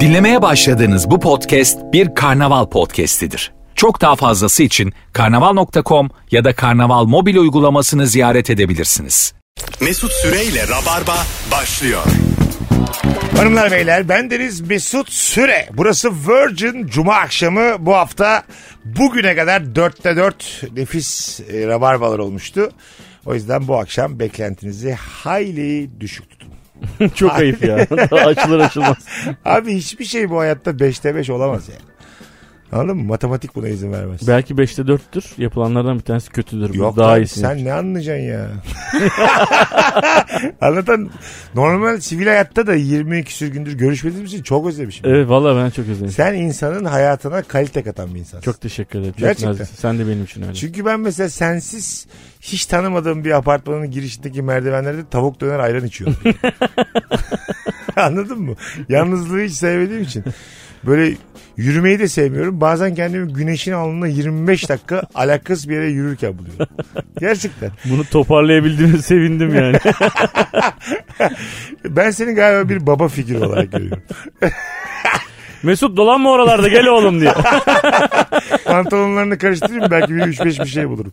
Dinlemeye başladığınız bu podcast bir karnaval podcastidir. Çok daha fazlası için karnaval.com ya da karnaval mobil uygulamasını ziyaret edebilirsiniz. Mesut Süreyle Rabarba başlıyor. Hanımlar beyler bendeniz Mesut Süre. Burası Virgin Cuma akşamı bu hafta bugüne kadar dörtte dört nefis e, rabarbalar olmuştu. O yüzden bu akşam beklentinizi hayli düşük tutun. Çok ayıp ya. Açılır açılmaz. Abi hiçbir şey bu hayatta beşte beş olamaz yani. Anladın mı? Matematik buna izin vermez. Belki 5'te 4'tür. Yapılanlardan bir tanesi kötüdür. Yok Yok daha lan, iyisini. sen ne anlayacaksın ya? Anlatan normal sivil hayatta da 20 küsür gündür görüşmediğimiz için çok özlemişim. Evet valla ben çok özledim. Sen insanın hayatına kalite katan bir insansın. Çok teşekkür ederim. Çok Gerçekten. naziksin. Sen de benim için öyle. Çünkü ben mesela sensiz hiç tanımadığım bir apartmanın girişindeki merdivenlerde tavuk döner ayran içiyorum. Anladın mı? Yalnızlığı hiç sevmediğim için. Böyle yürümeyi de sevmiyorum. Bazen kendimi güneşin alnına 25 dakika alakasız bir yere yürürken buluyorum. Gerçekten. Bunu toparlayabildiğime sevindim yani. Ben seni galiba bir baba figürü olarak görüyorum. Mesut dolanma oralarda gel oğlum diye. Pantolonlarını karıştırayım belki bir 3-5 bir şey bulurum.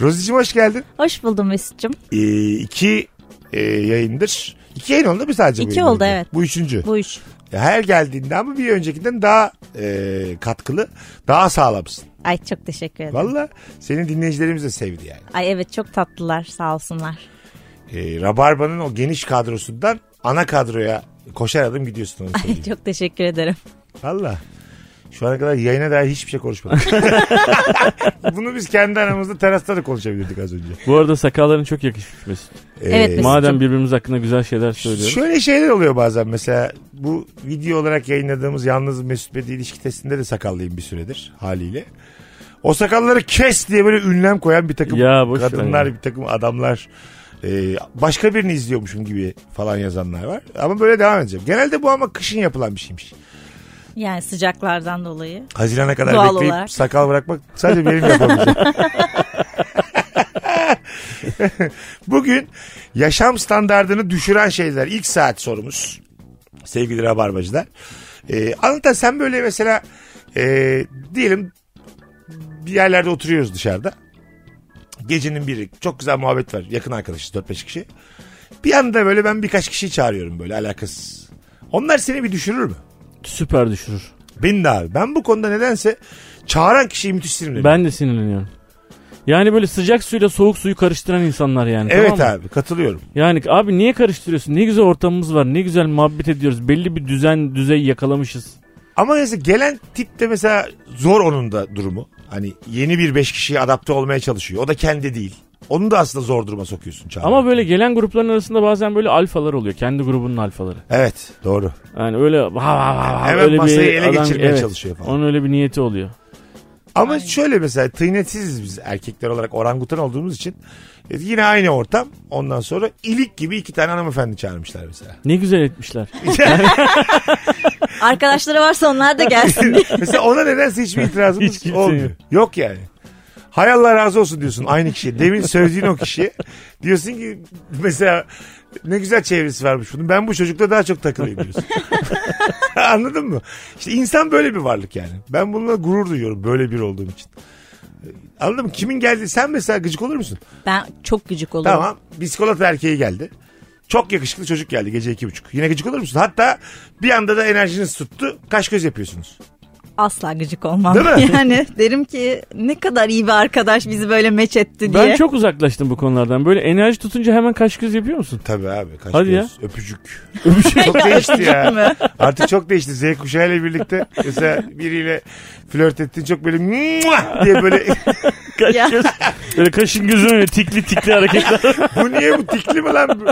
Rozi'cim hoş geldin. Hoş buldum Mesut'cum. Ee, iki e, yayındır. İki yayın oldu mu sadece? bu İki yayın oldu, boyunca? evet. Bu üçüncü. Bu iş. Ya Her geldiğinde ama bir öncekinden daha e, katkılı, daha sağlamsın. Ay çok teşekkür ederim. Valla senin dinleyicilerimiz de sevdi yani. Ay evet çok tatlılar sağ olsunlar. E, Rabarba'nın o geniş kadrosundan ana kadroya koşar adım gidiyorsun onu Ay söyleyeyim. çok teşekkür ederim. Valla. Şu ana kadar yayına dair hiçbir şey konuşmadık. Bunu biz kendi aramızda terasta da konuşabilirdik az önce. Bu arada sakalların çok yakışmış Mesut. E, Evet, Mesut. Madem birbirimiz hakkında güzel şeyler söylüyoruz. Şöyle şeyler oluyor bazen mesela bu video olarak yayınladığımız yalnız Mesut Bey'le ilişki testinde de sakallıyım bir süredir haliyle. O sakalları kes diye böyle ünlem koyan bir takım Ya boş ver kadınlar ya. bir takım adamlar e, başka birini izliyormuşum gibi falan yazanlar var. Ama böyle devam edeceğim. Genelde bu ama kışın yapılan bir şeymiş. Yani sıcaklardan dolayı. Hazirana kadar Doğal bekleyip olarak. sakal bırakmak sadece benim yapabileceğim. Bugün yaşam standartını düşüren şeyler ilk saat sorumuz. Sevgili Rabarbacılar. Ee, Anlatan sen böyle mesela ee, diyelim bir yerlerde oturuyoruz dışarıda. Gecenin biri çok güzel muhabbet var. Yakın arkadaşız 4-5 kişi. Bir anda böyle ben birkaç kişi çağırıyorum böyle alakasız. Onlar seni bir düşürür mü? Süper düşürür. Beni de abi. Ben bu konuda nedense çağıran kişiyi müthiş sinirleniyorum. Ben de sinirleniyorum. Yani böyle sıcak suyla soğuk suyu karıştıran insanlar yani. Evet tamam mı? abi katılıyorum. Yani abi niye karıştırıyorsun? Ne güzel ortamımız var. Ne güzel muhabbet ediyoruz. Belli bir düzen düzey yakalamışız. Ama mesela gelen tip de mesela zor onun da durumu. Hani yeni bir beş kişiye adapte olmaya çalışıyor. O da kendi değil. Onu da aslında zor duruma sokuyorsun çağıran. Ama böyle gelen grupların arasında bazen böyle alfalar oluyor. Kendi grubunun alfaları. Evet doğru. Yani öyle ha, ha, ha, ha, Hemen öyle masayı ele geçirmeye çalışıyor falan. Onun öyle bir niyeti oluyor. Ama şöyle mesela tıynetsiziz biz erkekler olarak orangutan olduğumuz için. E, Yine aynı ortam. Ondan sonra ilik gibi iki tane hanımefendi çağırmışlar mesela. Ne güzel etmişler. Arkadaşları varsa onlar da gelsin. Mesela ona nedense hiçbir itirazımız Hiç kimse olmuyor. Yok. yok. yani. Hay Allah razı olsun diyorsun aynı kişiye. Demin söylediğin o kişiye. Diyorsun ki mesela ne güzel çevresi varmış bunun. Ben bu çocukla daha çok takılayım diyorsun. Anladın mı? İşte insan böyle bir varlık yani. Ben bununla gurur duyuyorum böyle bir olduğum için. Anladın mı? Kimin geldi? Sen mesela gıcık olur musun? ben çok gıcık olurum. Tamam. Biskolata erkeği geldi. Çok yakışıklı çocuk geldi gece iki buçuk. Yine gıcık olur musun? Hatta bir anda da enerjiniz tuttu. Kaş göz yapıyorsunuz. Asla gıcık olmam. Değil mi? Yani derim ki ne kadar iyi bir arkadaş bizi böyle meç etti diye. Ben çok uzaklaştım bu konulardan. Böyle enerji tutunca hemen kaş göz yapıyor musun? Tabii abi. Kaş Hadi göz, öpücük. Çok değişti ya. Artık çok değişti. Z kuşağı ile birlikte mesela biriyle flört ettin çok böyle "Mua!" diye böyle Kaş Ya. göz. Böyle kaşın gözün öyle tikli tikli hareketler. bu niye bu tikli mi lan?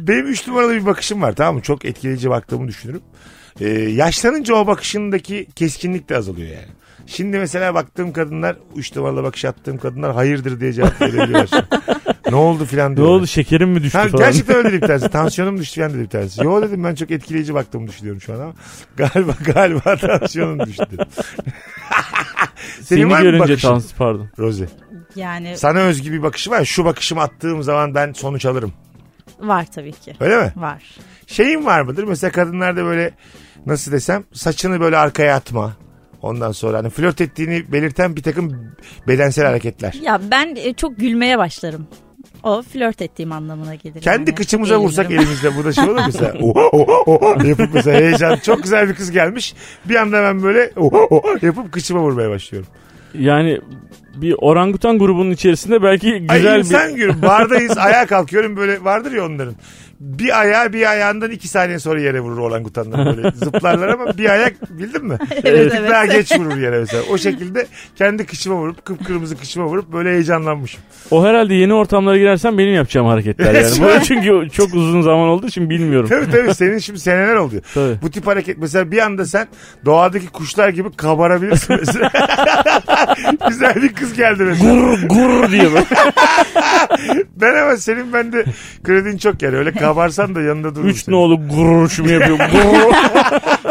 Benim üç numaralı bir bakışım var tamam mı? Çok etkileyici baktığımı düşünürüm. Ee, yaşlanınca o bakışındaki keskinlik de azalıyor yani. Şimdi mesela baktığım kadınlar, üç numaralı bakış attığım kadınlar hayırdır diye cevap verebiliyorlar. ne oldu filan ne diyorlar. oldu şekerim mi düştü Ha, falan. gerçekten öyle dedi bir tanesi. Tansiyonum düştü falan dedi bir tanesi. Yo dedim ben çok etkileyici baktığımı düşünüyorum şu an ama galiba galiba tansiyonum düştü. dedim. Seni Senin var mı görünce bakışın? dans pardon. Rozi. Yani Sana özgü bir bakışı var. ya, Şu bakışımı attığım zaman ben sonuç alırım. Var tabii ki. Öyle mi? Var. Şeyin var mıdır? Mesela kadınlarda böyle nasıl desem saçını böyle arkaya atma. Ondan sonra hani flört ettiğini belirten bir takım bedensel hareketler. Ya ben e, çok gülmeye başlarım. O flört ettiğim anlamına gelir. Kendi yani. kıçımıza Eğlenirim. vursak elimizle bu da şey olur mu? mesela. Oha oha oha yapıp mesela heyecan. Çok güzel bir kız gelmiş. Bir anda ben böyle oha oha yapıp kıçıma vurmaya başlıyorum. Yani bir orangutan grubunun içerisinde belki Ay güzel insan bir... gibi bardayız ayağa kalkıyorum böyle vardır ya onların. Bir ayağı bir ayağından iki saniye sonra yere vurur orangutanlar böyle zıplarlar ama bir ayak bildin mi? Evet, Bir evet. daha geç vurur yere mesela. O şekilde kendi kıçıma vurup kıpkırmızı kıçıma vurup böyle heyecanlanmışım. O herhalde yeni ortamlara girersem benim yapacağım hareketler yani. Bunu çünkü çok uzun zaman olduğu için bilmiyorum. Tabii tabii senin şimdi seneler oldu. Tabii. Bu tip hareket mesela bir anda sen doğadaki kuşlar gibi kabarabilirsin mesela. Güzel bir kız geldi mesela. Gur gur diye böyle. Ben ama senin bende kredin çok yani öyle kabarsan da yanında durur. Üç senin. nolu gururuşumu yapıyor. Gurur.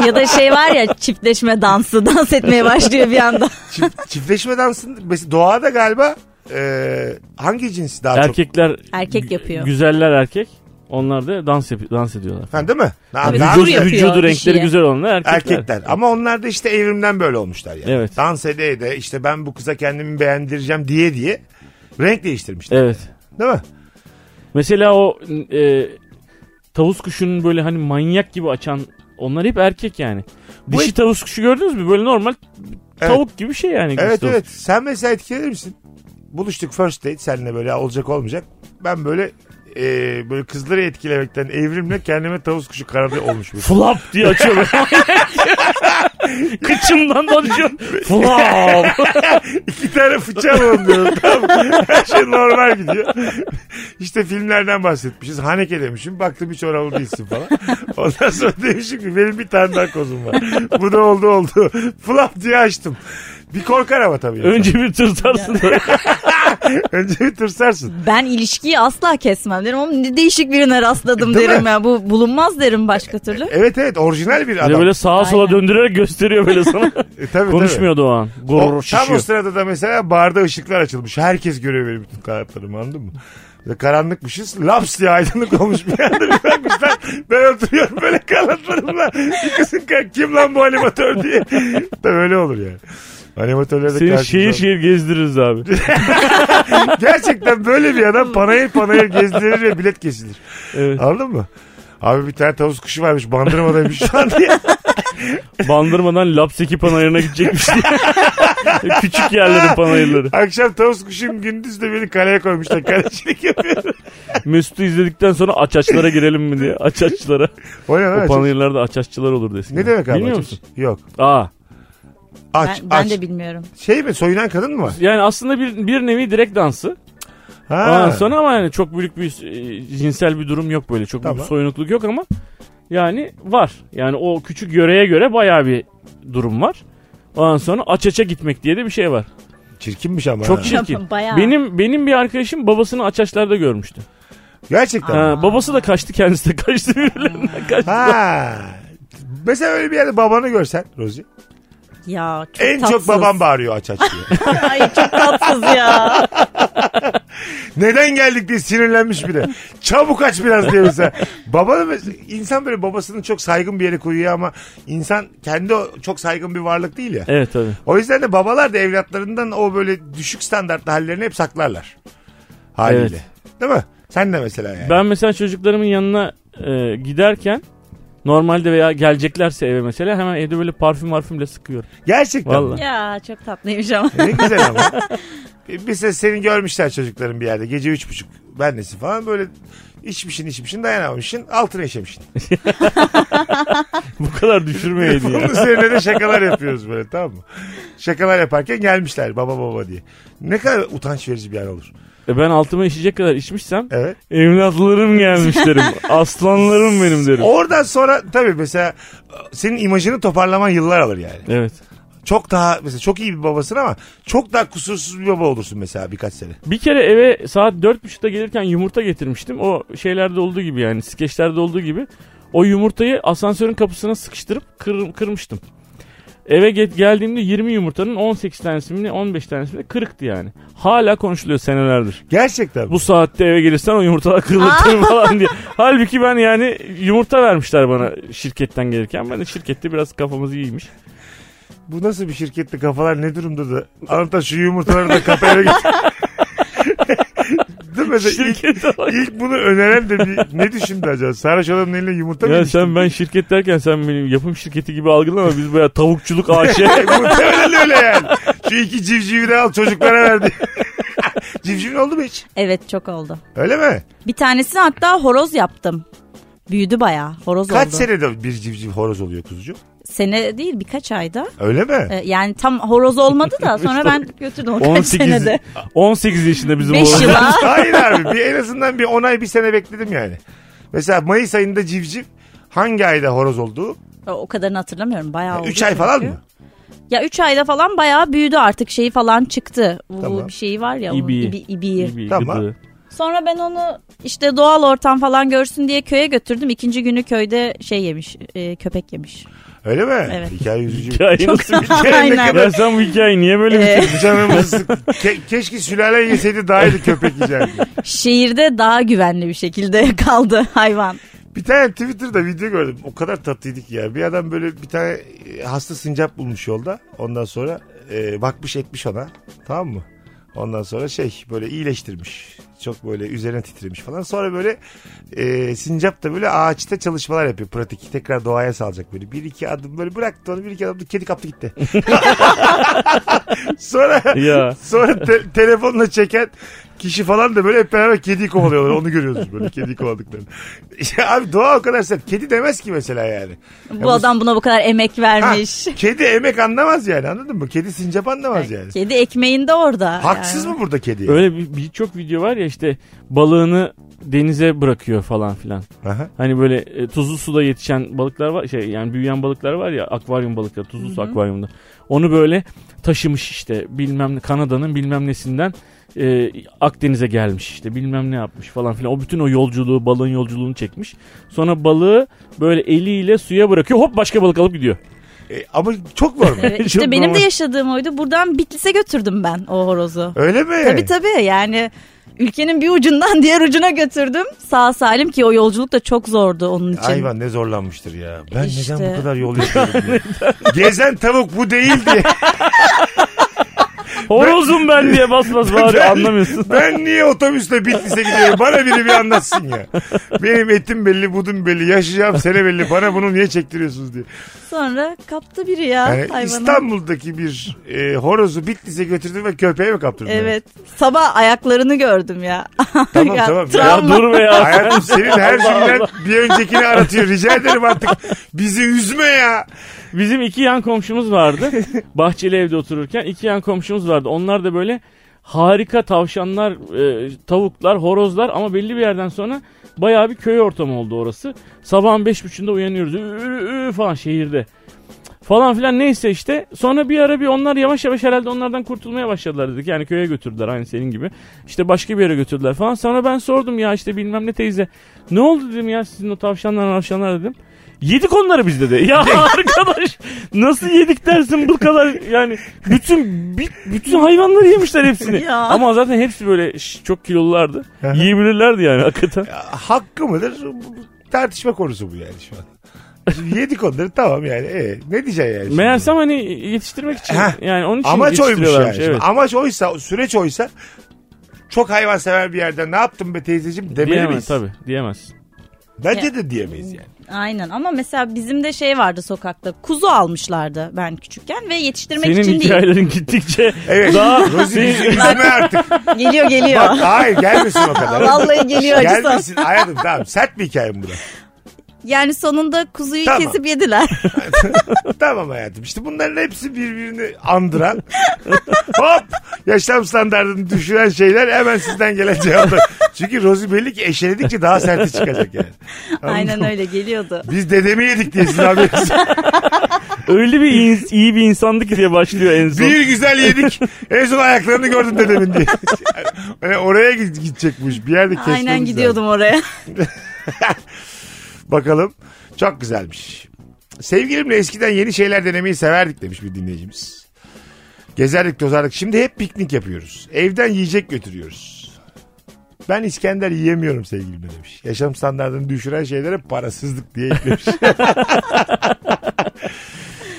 Ya da şey var ya çiftleşme dansı dans etmeye başlıyor bir anda. Çift, çiftleşme dansın mesela doğada galiba e, hangi cinsi daha çok? Erkekler Erkek yapıyor. güzeller erkek. Onlar da dans yapıyor, dans ediyorlar. Ha, değil mi? Ha, Tabii, daha dur Vücudu, yapıyor vücudu renkleri kişiye. güzel olanlar erkekler. erkekler. Ama onlar da işte evrimden böyle olmuşlar yani. Evet. Dans ede de işte ben bu kıza kendimi beğendireceğim diye diye renk değiştirmişler. Evet. Değil mi? Mesela o e, tavus kuşunun böyle hani manyak gibi açan onlar hep erkek yani. Bu Dişi et- tavus kuşu gördünüz mü? Böyle normal tavuk gibi bir şey yani. Evet Gustav. evet. Sen mesela etkilenir misin? Buluştuk first date seninle böyle olacak olmayacak. Ben böyle e, böyle kızları etkilemekten evrimle kendime tavus kuşu kanadı olmuş. Flap diye açıyor. Kıçımdan dolaşıyor. Flap. İki tane fıçak alalım diyorum. Tamam. Her şey normal gidiyor. İşte filmlerden bahsetmişiz. Haneke demişim. Baktım hiç oralı değilsin falan. Ondan sonra demişim ki benim bir tane daha kozum var. Bu da oldu oldu. Flap diye açtım. Bir korkar ama tabii. insan. Önce bir tırtarsın. Önce bir tırsarsın. Ben ilişkiyi asla kesmem derim ama ne değişik birine rastladım E, Değil derim mi? E, ya. Bu bulunmaz derim başka türlü. Evet evet orijinal bir adam. böyle sağa sola Aynen. döndürerek gösteriyor böyle sana. E, tabii, tabii. Konuşmuyordu o an. O, Gurur tam o şişiyor. sırada da mesela barda ışıklar açılmış. Herkes görüyor benim bütün kanatlarımı anladın mı? Böyle karanlıkmışız. Laps diye aydınlık olmuş bir anda bir bakmışlar. Ben oturuyorum böyle kanatlarımla. Bir kızın ka- kim lan bu animatör diye. Tabii öyle olur yani. Animatörlerde Seni karşımıza- şehir şehir gezdiririz abi. Gerçekten böyle bir adam panayır panayır gezdirir ve bilet kesilir. Evet. Anladın mı? Abi bir tane tavus kuşu varmış bandırmadaymış şu an diye. Bandırmadan Lapseki panayırına gidecekmiş diye. Küçük yerlerin panayırları. Akşam tavus kuşum gündüz de beni kaleye koymuşlar. Kalecilik yapıyorum. Mesut'u izledikten sonra açaçlara girelim mi diye. Açaçlara. O ne lan? O panayırlarda açaççılar olurdu eskiden. Ne demek abi? Bilmiyor açık? musun? Yok. Aa. Aç, Ben, ben aç. de bilmiyorum. Şey mi soyunan kadın mı var? Yani aslında bir, bir nevi direkt dansı. Ha. Ondan sonra ama yani çok büyük bir e, cinsel bir durum yok böyle. Çok büyük Tamam. bir soyunukluk yok ama yani var. Yani o küçük yöreye göre bayağı bir durum var. Ondan sonra açaça gitmek diye de bir şey var. Çirkinmiş ama. Çok ha. çirkin. Bayağı. Benim benim bir arkadaşım babasını açaçlarda görmüştü. Gerçekten. Ha. Ha, babası da kaçtı kendisi de kaçtı birbirlerinden kaçtı. Mesela öyle bir yerde babanı görsen Rozi. Ya çok En tatsız. çok babam bağırıyor aç aç diye. Ay çok tatsız ya. Neden geldik diye sinirlenmiş bir de. Çabuk aç biraz diye mesela. Babanı insan böyle babasını çok saygın bir yere koyuyor ama insan kendi o- çok saygın bir varlık değil ya. Evet tabii. O yüzden de babalar da evlatlarından o böyle düşük standartlı hallerini hep saklarlar. Haliyle. Değil mi? Sen de mesela yani. Ben mesela çocuklarımın yanına e, giderken normalde veya geleceklerse eve mesela hemen evde böyle parfüm marfümle sıkıyorum. Gerçekten. Vallahi. Ya çok tatlıymış ama. Ne güzel ama. Mesela seni görmüşler çocukların bir yerde. Gece üç buçuk. Ben nesi falan böyle içmişin içmişin dayanamamışsın. Altına işemişsin. Bu kadar düşürmeyin Bunun ya. üzerine de şakalar yapıyoruz böyle tamam mı? Şakalar yaparken gelmişler baba baba diye. Ne kadar utanç verici bir an olur. E ben altıma işecek kadar içmişsem Evet. evlatlarım gelmiş derim. Aslanlarım benim derim. Oradan sonra tabii mesela senin imajını toparlaman yıllar alır yani. Evet. Çok daha mesela çok iyi bir babasın ama çok daha kusursuz bir baba olursun mesela birkaç sene. Bir kere eve saat 4.30'da gelirken yumurta getirmiştim. O şeylerde olduğu gibi yani skeçlerde olduğu gibi. O yumurtayı asansörün kapısına sıkıştırıp kır- kırmıştım. Eve ge- geldiğimde 20 yumurtanın 18 tanesi mi ne, 15 tanesi mi ne, kırıktı yani. Hala konuşuluyor senelerdir. Gerçekten. Bu saatte eve gelirsen o yumurtalar kırılır falan diye. Halbuki ben yani yumurta vermişler bana şirketten gelirken. Ben de şirkette biraz kafamız iyiymiş. Bu nasıl bir şirkette kafalar ne durumda da Anlatan şu yumurtaları da kafaya git. Değil mi? Mesela ilk, Şirkette bak. ilk bunu öneren de bir, ne düşündü acaba? Sarhoş adamın eline yumurta mı Ya ilişti? sen ben şirket derken sen benim yapım şirketi gibi algılama biz baya tavukçuluk AŞ. Muhtemelen öyle yani. Şu iki civcivi de al çocuklara verdi. Civcivin oldu mu hiç? Evet çok oldu. Öyle mi? Bir tanesini hatta horoz yaptım. Büyüdü bayağı. Horoz Kaç oldu. senede bir civciv horoz oluyor kuzucuğum? Sene değil birkaç ayda. Öyle mi? Ee, yani tam horoz olmadı da sonra ben götürdüm o kaç 18, senede. 18 yaşında bizim 5 oğlan. yıla. Hayır abi bir, en azından bir 10 ay bir sene bekledim yani. Mesela Mayıs ayında civciv hangi ayda horoz olduğu? O kadarını hatırlamıyorum bayağı oldu 3 E, ay çünkü. falan mı? Ya 3 ayda falan bayağı büyüdü artık şeyi falan çıktı. Bu Tamam. bir şeyi var ya. İbi. İbi. Ibi, ibiği. İyi bir Tamam. gıdı. Sonra ben onu işte doğal ortam falan görsün diye köye götürdüm. İkinci günü köyde şey yemiş, e, köpek yemiş. Öyle mi? Evet. Hikaye üzücü. Hikaye nasıl bir- şey? Aynen. Ya sen bu hikayeyi niye böyle Ee, bitirdin? Canımızı Ke- keşke sülalen yeseydi daha iyiydi köpek yiyeceğim. Şehirde daha güvenli bir şekilde kaldı hayvan. Bir tane Twitter'da video gördüm. O kadar tatlıydı ki ya. Bir adam böyle bir tane e, hasta sincap bulmuş yolda. Ondan sonra e, bakmış etmiş ona. Tamam mı? Ondan sonra şey böyle iyileştirmiş. Çok böyle üzerine titremiş falan. Sonra böyle e, sincap da böyle ağaçta çalışmalar yapıyor pratik. Tekrar doğaya salacak böyle. Bir iki adım böyle bıraktı onu. Bir iki adım kedi kaptı gitti. sonra şey- Ya. Sonra te- telefonla çeken kişi falan da böyle hep beraber kediyi kovalıyorlar. Onu görüyoruz böyle kediyi kovaladıklarını. Ya abi doğa o kadar sert. Kedi demez ki mesela yani. Bu bu- adam buna bu kadar emek Ha, vermiş. kedi emek anlamaz yani anladın mı? Kedi sincap anlamaz yani. Kedi ekmeğinde orada. Haksız yani. mı burada kedi? Öyle bir- birçok video var ya işte balığını denize bırakıyor falan filan. Aha. Hani böyle e, tuzlu suda yetişen balıklar var şey yani büyüyen balıklar var ya akvaryum balıkları tuzlu su akvaryumda. Onu böyle taşımış işte bilmem ne Kanada'nın bilmem nesinden e, Akdeniz'e gelmiş işte bilmem ne yapmış falan filan. O bütün o yolculuğu balığın yolculuğunu çekmiş. Sonra balığı böyle eliyle suya bırakıyor hop başka balık alıp gidiyor. E, ama çok var mı? Evet, Çok işte benim de normal. yaşadığım oydu. Buradan Bitlis'e götürdüm ben o horozu. Öyle mi? Tabii tabii yani ülkenin bir ucundan diğer ucuna götürdüm. Sağ salim ki o yolculuk da çok zordu onun için. Hayvan ne zorlanmıştır ya. Ben İşte. neden bu kadar yol yapıyorum diye. Gezen tavuk bu değil diye. Horozum ben diye bas bas bağırıyor anlamıyorsun. Ben niye otobüsle Bitlis'e gidiyorum? Bana biri bir anlatsın ya. Benim etim belli, budum belli, yaşayacağım sene belli. Bana bunu niye çektiriyorsunuz diye. Sonra kaptı biri ya Yani hayvanı. İstanbul'daki bir e, horozu Bitlis'e götürdün ve köpeğe mi kaptırdın? Evet. Sabah ayaklarını gördüm ya. Tamam, Ya, tamam. travma. Ya dur be ya. Hayatım senin her cümlen bir öncekini aratıyor. Rica ederim artık bizi üzme ya. Bizim iki yan komşumuz vardı. Bahçeli evde otururken iki yan komşumuz vardı. Onlar da böyle harika tavşanlar, e, tavuklar, horozlar ama belli bir yerden sonra bayağı bir köy ortamı oldu orası. Sabahın beş buçuğunda uyanıyoruz. Ü, ü, ü falan şehirde. Falan filan neyse işte. Sonra bir ara bir onlar yavaş yavaş herhalde onlardan kurtulmaya başladılar dedik. Yani köye götürdüler aynı senin gibi. İşte başka bir yere götürdüler falan. Sonra ben sordum ya işte bilmem ne teyze. Ne oldu dedim ya sizin o tavşanlar tavşanlar dedim. Yedik onları biz dedi. Ya arkadaş nasıl yedik dersin bu kadar yani bütün bi- bütün hayvanları yemişler hepsini. Ya. Ama zaten hepsi böyle ş- çok kilolulardı. Aha. Yiyebilirlerdi yani hakikaten. Hakkı mıdır? Bu- bu Tartışma konusu bu yani şu an. Şimdi yedik onları tamam yani. E, ne diyeceksin yani? şimdi? Meğersem hani yetiştirmek için Ha. yani onun için Amaç oymuş yani. yetiştiriyorlarmış, Şimdi Evet. Amaç oysa, süreç oysa çok hayvansever bir yerden ne yaptın be teyzeciğim demeli miyiz? Diyemez tabii diyemez. Bence de diyemeyiz yani. Aynen ama mesela bizim de şey vardı sokakta. Kuzu almışlardı ben küçükken ve yetiştirmek Senin için değil. hikayelerin gittikçe Evet. daha Rozi Senin- bizi üzme artık. Geliyor geliyor. Bak hayır gelmesin o kadar. Vallahi geliyor acısı. gelmesin hayatım tamam sert bir hikaye bu da. Yani sonunda kuzuyu Tamam. kesip yediler. Tamam hayatım işte bunların hepsi birbirini andıran hop yaşam standartını düşüren şeyler hemen sizden gelen cevaplar. Çünkü Rozi belli ki eşeledikçe daha serti çıkacak yani. Anladın Aynen mı? öyle geliyordu. Biz dedemi yedik diye sizin haberiniz. yok. öyle bir ins- iyi bir insandı ki diye başlıyor en son. Bir güzel yedik. En son ayaklarını gördüm dedemin diye. Yani oraya gid- gidecek bu iş. Bir yerde kesmemiz Aynen lazım. gidiyordum oraya. Bakalım. Çok güzelmiş. Sevgilimle eskiden yeni şeyler denemeyi severdik demiş bir dinleyicimiz. Gezerdik tozardık. Şimdi hep piknik yapıyoruz. Evden yiyecek götürüyoruz. Ben İskender yiyemiyorum sevgilimle demiş. Yaşam standartını düşüren şeylere parasızlık diye eklemiş.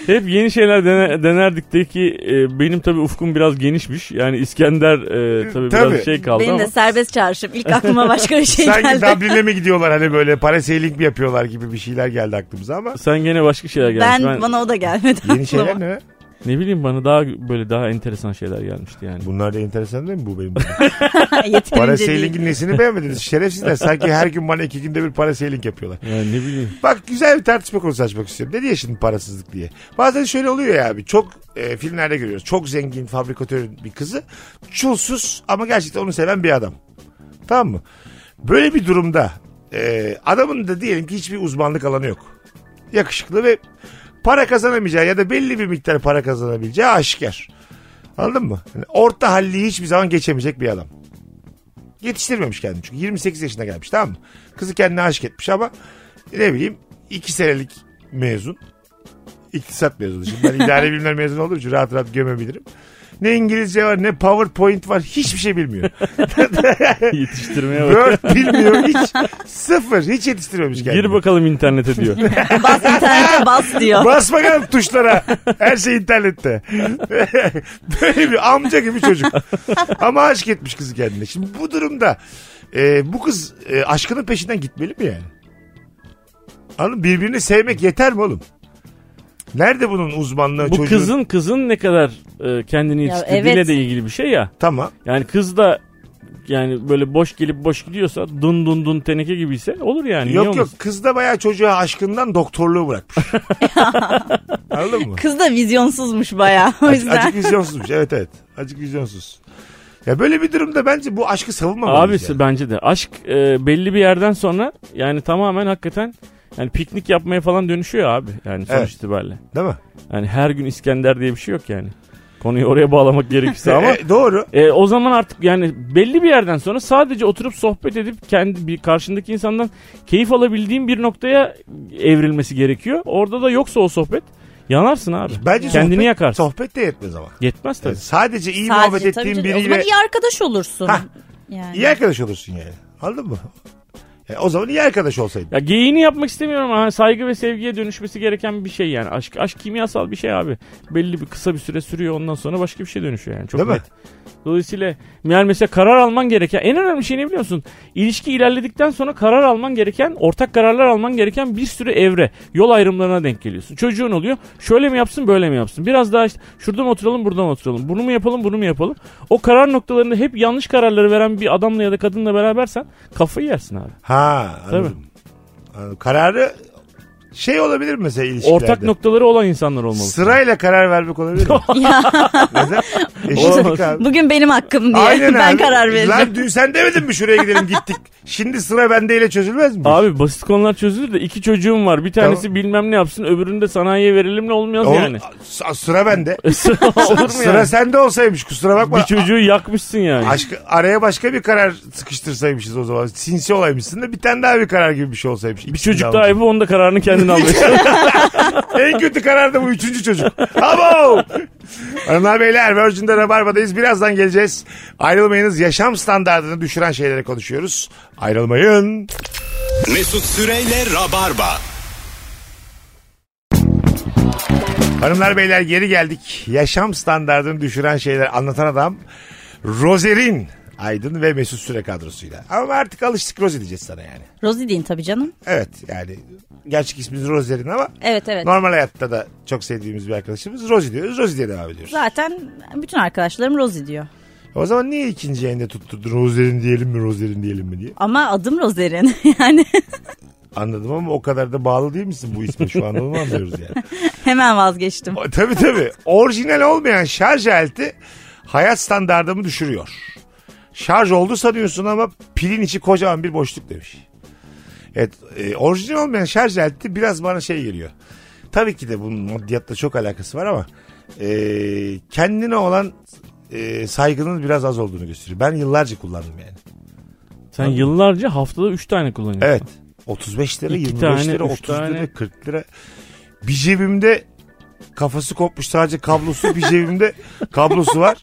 Hep yeni şeyler dene- denerdik de ki e, benim tabii ufkum biraz genişmiş. Yani İskender e, tabii, Tabii. biraz şey kaldı Benim ama. de serbest çarşım. İlk aklıma başka bir şey Sanki geldi. Dublin'e mi gidiyorlar hani böyle parasailing mi yapıyorlar gibi bir şeyler geldi aklımıza ama. Sen gene başka şeyler gelmiş. Ben, Ben- bana o da gelmedi. Yeni şeyler aklıma. ne? Ne bileyim bana daha böyle daha enteresan şeyler gelmişti yani. Bunlar da enteresan değil mi bu benim? Yeterince değil. Parasailing'in nesini beğenmediniz? Şerefsizler. Sanki her gün bana iki günde bir parasailing yapıyorlar. Yani ne bileyim. Bak güzel bir tartışma konusu açmak istiyorum. Dedi ya şimdi parasızlık diye. Bazen şöyle oluyor ya abi. Çok e, filmlerde görüyoruz. Çok zengin fabrikatörün bir kızı. Çulsuz ama gerçekten onu seven bir adam. Tamam mı? Böyle bir durumda e, adamın da diyelim ki hiçbir uzmanlık alanı yok. Yakışıklı ve para kazanamayacağı ya da belli bir miktar para kazanabileceği aşikar. Anladın mı? Yani orta halliyi hiçbir zaman geçemeyecek bir adam. Yetiştirmemiş kendini çünkü 28 yaşına gelmiş tamam mı? Kızı kendine aşık etmiş ama ne bileyim 2 senelik mezun. İktisat mezunu. Şimdi ben idare bilimler mezunu olduğum için rahat rahat gömebilirim. Ne İngilizce var ne PowerPoint var hiçbir şey bilmiyor. Yetiştirmeye bak. Word bilmiyor hiç. Sıfır hiç yetiştirmemiş kendini. Gir bakalım internete diyor. Bas internete bas diyor. Bas bakalım tuşlara. Her şey internette. Böyle bir amca gibi çocuk. Ama aşk etmiş kızı kendine. Şimdi bu durumda e, bu kız e, aşkının peşinden gitmeli mi yani? Anladın mı? Birbirini sevmek yeter mi oğlum? Nerede bunun uzmanlığı Bu çocuğun? kızın kızın ne kadar e, kendini Ya yetiştirdiğiyle evet. de ilgili bir şey ya. Tamam. Yani kız da yani böyle boş gelip boş gidiyorsa dun dun dun teneke gibiyse olur yani. niye yok yok olmasın? kız da bayağı çocuğa aşkından doktorluğu bırakmış. Anladın mı? Kız da vizyonsuzmuş bayağı. O Acık, yüzden. acık vizyonsuzmuş evet evet. Acık vizyonsuz. Ya böyle bir durumda bence bu aşkı Abi savunmamalıyız. yani. bence de aşk e, belli bir yerden sonra yani tamamen hakikaten yani piknik yapmaya falan dönüşüyor abi yani sonuç Evet. itibariyle. Değil mi? Yani her gün İskender diye bir şey yok yani. Konuyu oraya bağlamak gerekirse ama E, doğru. E, o zaman artık yani belli bir yerden sonra sadece oturup sohbet edip kendi bir karşındaki insandan keyif alabildiğin bir noktaya evrilmesi gerekiyor. Orada da yoksa o sohbet yanarsın abi. Bence Kendini sohbet, yakarsın. Sohbet de yetmez ama. Yetmez tabii. Yani sadece iyi Sadece muhabbet tabii ettiğin canım. O zaman biriyle iyi arkadaş olursun. Hah. Yani. iyi arkadaş olursun yani. Anladın mı? Yani o zaman iyi arkadaş olsaydın. Ya geyiğini yapmak istemiyorum ama hani saygı ve sevgiye dönüşmesi gereken bir şey yani. Aşk aşk kimyasal bir şey abi. Belli bir kısa bir süre sürüyor ondan sonra başka bir şey dönüşüyor yani. Çok Değil mi? net. Dolayısıyla yani mesela karar alman gereken en önemli şey ne biliyor musun? İlişki ilerledikten sonra karar alman gereken, ortak kararlar alman gereken bir sürü evre, yol ayrımlarına denk geliyorsun. Çocuğun oluyor. Şöyle mi yapsın, böyle mi yapsın? Biraz daha işte şurada mı oturalım, burada mı oturalım? Bunu mu yapalım, bunu mu yapalım? O karar noktalarında hep yanlış kararları veren bir adamla ya da kadınla berabersen kafayı yersin abi. Ha anladım. Anladım. Kararı şey olabilir mi mesela ilişkilerde? Ortak noktaları olan insanlar olmalı. Sırayla karar vermek olabilir mi? Neden? Eşitlik Olamaz. abi. Bugün benim hakkım diye Aynen ben abi. karar veririm. Lan dün sen demedin mi şuraya gidelim gittik. Şimdi sıra bendeyle çözülmez mi? Abi basit konular çözülür de iki çocuğum var. Bir tanesi bilmem ne yapsın, öbürünü de sanayiye verelim ne olmuyor Oğlum, yani. s- Sıra bende. Olur mu sıra yani? sende olsaymış kusura bakma. Bir çocuğu yakmışsın yani. Aşk, araya başka bir karar sıkıştırsaymışız o zaman. Sinsi olaymışsın da bir tane daha bir karar gibi bir şey olsaymış. Bir çocuk daha yapıp onun da kararını kendin almış. En kötü karar da bu üçüncü çocuk. Abo! Hanımlar beyler Virgin'de Rabarba'dayız. Birazdan geleceğiz. Ayrılmayınız. Yaşam standartını düşüren şeylere konuşuyoruz. Ayrılmayın. Mesut Süreyle Rabarba. Hanımlar beyler geri geldik. Yaşam standartını düşüren şeyler anlatan adam Rozerin Aydın ve Mesut Süre kadrosuyla. Ama artık alıştık Roz diyeceğiz sana yani. Rosie deyin tabii canım. Evet yani gerçek ismimiz Rozerin ama Evet evet. Normal hayatta da çok sevdiğimiz bir arkadaşımız Rozi diyoruz. Rozi diye devam ediyoruz. Zaten bütün arkadaşlarım Rosie diyor. O zaman niye ikinci yayında tutturdun Rozerin diyelim mi Rozerin diyelim mi diye. Ama adım Roserin. yani Anladım ama o kadar da bağlı değil misin bu isme şu anda onu anlıyoruz yani. hemen vazgeçtim. O- tabii tabii. Orijinal olmayan şarj aleti hayat standartımı düşürüyor. Şarj oldu sanıyorsun ama pilin içi kocaman bir boşluk demiş. Evet e, orijinal olmayan şarj aleti biraz bana şey geliyor. Tabii ki de bunun maddiyatla çok alakası var ama e, kendine olan e, saygının biraz az olduğunu gösteriyor. Ben yıllarca kullandım yani. Sen yıllarca haftada 3 tane kullanıyorsun. Evet. 35 lira, İki 25 tane, lira, üç 30 lira, tane. 40 lira. Bir cebimde kafası kopmuş sadece kablosu bir cebimde kablosu var.